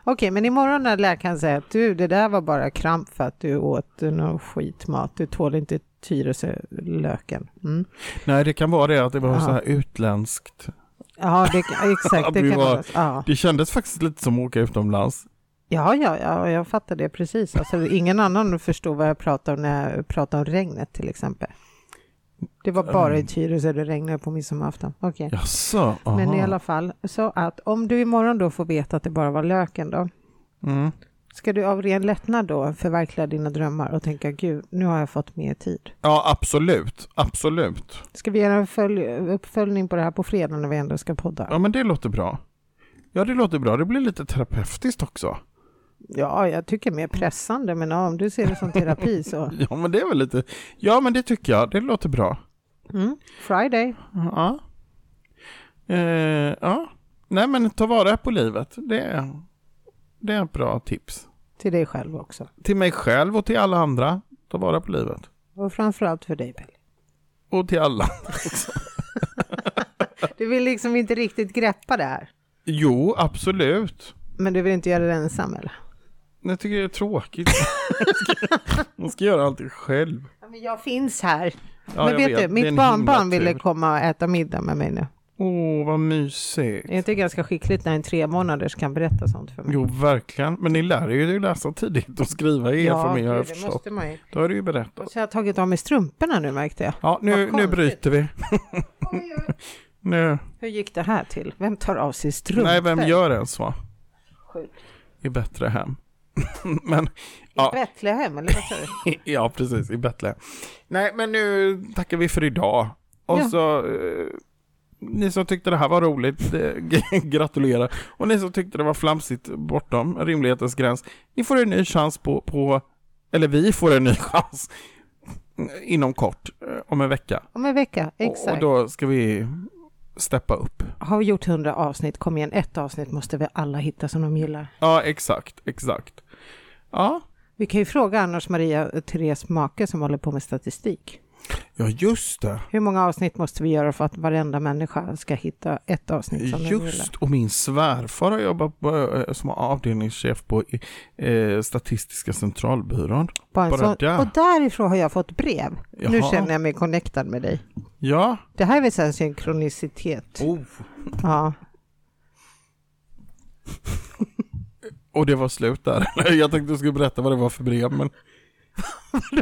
Speaker 2: Okej, men imorgon när läkaren säger att du, det där var bara kramp för att du åt någon skitmat, du tål inte Tyresölöken. Mm.
Speaker 1: Nej, det kan vara det att det var
Speaker 2: Ja.
Speaker 1: så här utländskt.
Speaker 2: Ja, det, exakt.
Speaker 1: Vi
Speaker 2: Det kan
Speaker 1: var-
Speaker 2: vara... ja.
Speaker 1: Det kändes faktiskt lite som att åka utomlands.
Speaker 2: Ja, ja, ja, jag fattar det precis. Alltså, ingen annan förstod vad jag pratade om när jag pratade om regnet till exempel. Det var bara i
Speaker 1: Mm.
Speaker 2: Tyresö det regnade på midsommarafton. Okej.
Speaker 1: Jaså?
Speaker 2: Men
Speaker 1: aha.
Speaker 2: i alla fall, så att om du imorgon då får veta att det bara var löken då,
Speaker 1: Mm.
Speaker 2: ska du av ren lättnad då förverkliga dina drömmar och tänka gud, nu har jag fått mer tid.
Speaker 1: Ja, absolut. Absolut.
Speaker 2: Ska vi göra en följ- uppföljning på det här på fredag när vi ändå ska podda?
Speaker 1: Ja, men det låter bra. Ja, det låter bra. Det blir lite terapeutiskt också.
Speaker 2: Ja, jag tycker mer pressande, men ja, om du ser det som terapi så.
Speaker 1: Ja, men det är väl lite... Ja, men det tycker jag. Det låter bra.
Speaker 2: Mm. Friday.
Speaker 1: Ja. Eh, ja. Nej, men ta vara på livet. Det är, det är ett bra tips.
Speaker 2: Till dig själv också.
Speaker 1: Till mig själv och till alla andra. Ta vara på livet.
Speaker 2: Och framförallt för dig, Pelle.
Speaker 1: Och till alla.
Speaker 2: Du vill liksom inte riktigt greppa det här.
Speaker 1: Jo, absolut.
Speaker 2: Men du vill inte göra det ensam eller?
Speaker 1: Jag tycker det är tråkigt. Man ska göra allting själv.
Speaker 2: Ja, men jag finns här.
Speaker 1: Ja,
Speaker 2: men
Speaker 1: jag
Speaker 2: vet,
Speaker 1: det är
Speaker 2: du, mitt
Speaker 1: en
Speaker 2: barnbarn
Speaker 1: himla tur.
Speaker 2: ville komma och äta middag med mig nu.
Speaker 1: Åh, vad mysigt.
Speaker 2: Det är inte ganska skickligt när en tre månaders kan berätta sånt för mig.
Speaker 1: Jo, verkligen. Men ni lär er ju läsa tidigt och skriva i er familj, har jag
Speaker 2: det
Speaker 1: förstått.
Speaker 2: måste man ju.
Speaker 1: Då har du ju berättat.
Speaker 2: Så jag har tagit av mig strumporna nu märkte jag.
Speaker 1: Ja, nu,
Speaker 2: Vad
Speaker 1: nu
Speaker 2: konstigt.
Speaker 1: bryter vi. nu.
Speaker 2: Hur gick det här till? Vem tar av sig strumpor?
Speaker 1: Nej, vem gör ens så?
Speaker 2: Sjukt.
Speaker 1: I bättre hem. men, Ja.
Speaker 2: I Betlehem eller vad sa du?
Speaker 1: ja, precis, i Betlehem. Nej, men nu tackar vi för idag. Och
Speaker 2: Ja.
Speaker 1: så, eh, ni som tyckte det här var roligt, eh, g- gratulerar. Och ni som tyckte det var flamsigt bortom rimlighetens gräns, ni får en ny chans på, på eller vi får en ny chans eh, inom kort, eh, om en vecka.
Speaker 2: Om en vecka,
Speaker 1: Och, och
Speaker 2: exakt.
Speaker 1: då ska vi steppa upp.
Speaker 2: Har vi gjort hundra avsnitt, kom igen, ett avsnitt måste vi alla hitta som de gillar.
Speaker 1: Ja, exakt, exakt. Ja,
Speaker 2: Vi kan ju fråga annars Maria och Therese make som håller på med statistik.
Speaker 1: ja just det.
Speaker 2: Hur många avsnitt måste vi göra för att varenda människa ska hitta ett avsnitt som den liksom, gillar?
Speaker 1: Just, och min svärfar har jobbat på, eh, som avdelningschef på eh, Statistiska centralbyrån.
Speaker 2: Bara en
Speaker 1: bara
Speaker 2: sån-
Speaker 1: där.
Speaker 2: Och därifrån har jag fått brev. Nu
Speaker 1: Jaha.
Speaker 2: känner jag mig connectad med dig.
Speaker 1: Ja.
Speaker 2: Det här är väl så här synkronicitet?
Speaker 1: Oh.
Speaker 2: Ja.
Speaker 1: Och det var slut där. Jag tänkte du skulle berätta vad det var för brev, men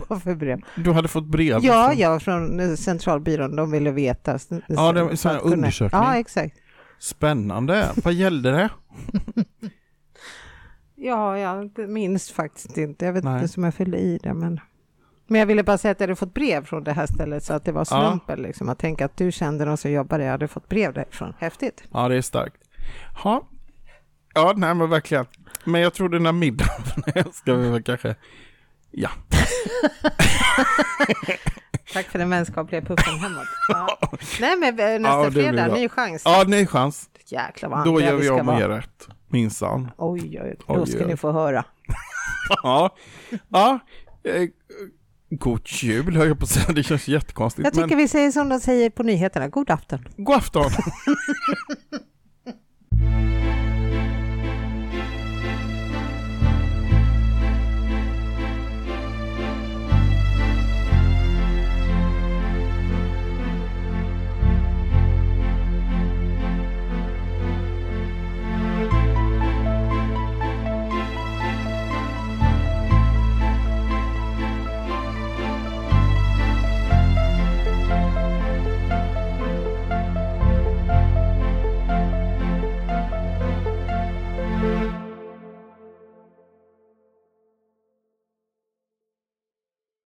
Speaker 2: Vadå för brev?
Speaker 1: du hade fått brev.
Speaker 2: Ja, ja, från eh, centralbyrån. De ville veta.
Speaker 1: Ja, det var en sån här
Speaker 2: För att kunna-
Speaker 1: undersökning.
Speaker 2: Ja, exakt.
Speaker 1: Spännande. Vad gällde det?
Speaker 2: Ja, jag minns faktiskt inte. Jag vet
Speaker 1: Nej.
Speaker 2: inte som jag fyllde i det, men... Men jag ville bara säga att jag hade fått brev från det här stället så att det var
Speaker 1: Ja.
Speaker 2: slumpen liksom. Att tänka att du kände någon som jobbade, jag hade fått brev därifrån. Häftigt.
Speaker 1: Ja, det är starkt. Ja, ja nej men verkligen. Men jag tror den här middagen ska vi väl kanske... Ja.
Speaker 2: Tack för den vänskapliga puffen hemåt. Ja. Nej, men eh, nästa
Speaker 1: Ja, det blir
Speaker 2: fredag,
Speaker 1: bra.
Speaker 2: ny chans.
Speaker 1: Ja, ny chans.
Speaker 2: Jäklar vad
Speaker 1: Då
Speaker 2: andra
Speaker 1: gör vi
Speaker 2: ska
Speaker 1: om och
Speaker 2: vara.
Speaker 1: gör rätt. Minsann.
Speaker 2: Oj, oj, oj, då
Speaker 1: Oj,
Speaker 2: ska
Speaker 1: oj.
Speaker 2: ni få höra.
Speaker 1: Ja. ja. eh, God jul höll jag på att säga, det känns jättekonstigt.
Speaker 2: Jag tycker vi säger som de säger på nyheterna, god afton.
Speaker 1: men god afton!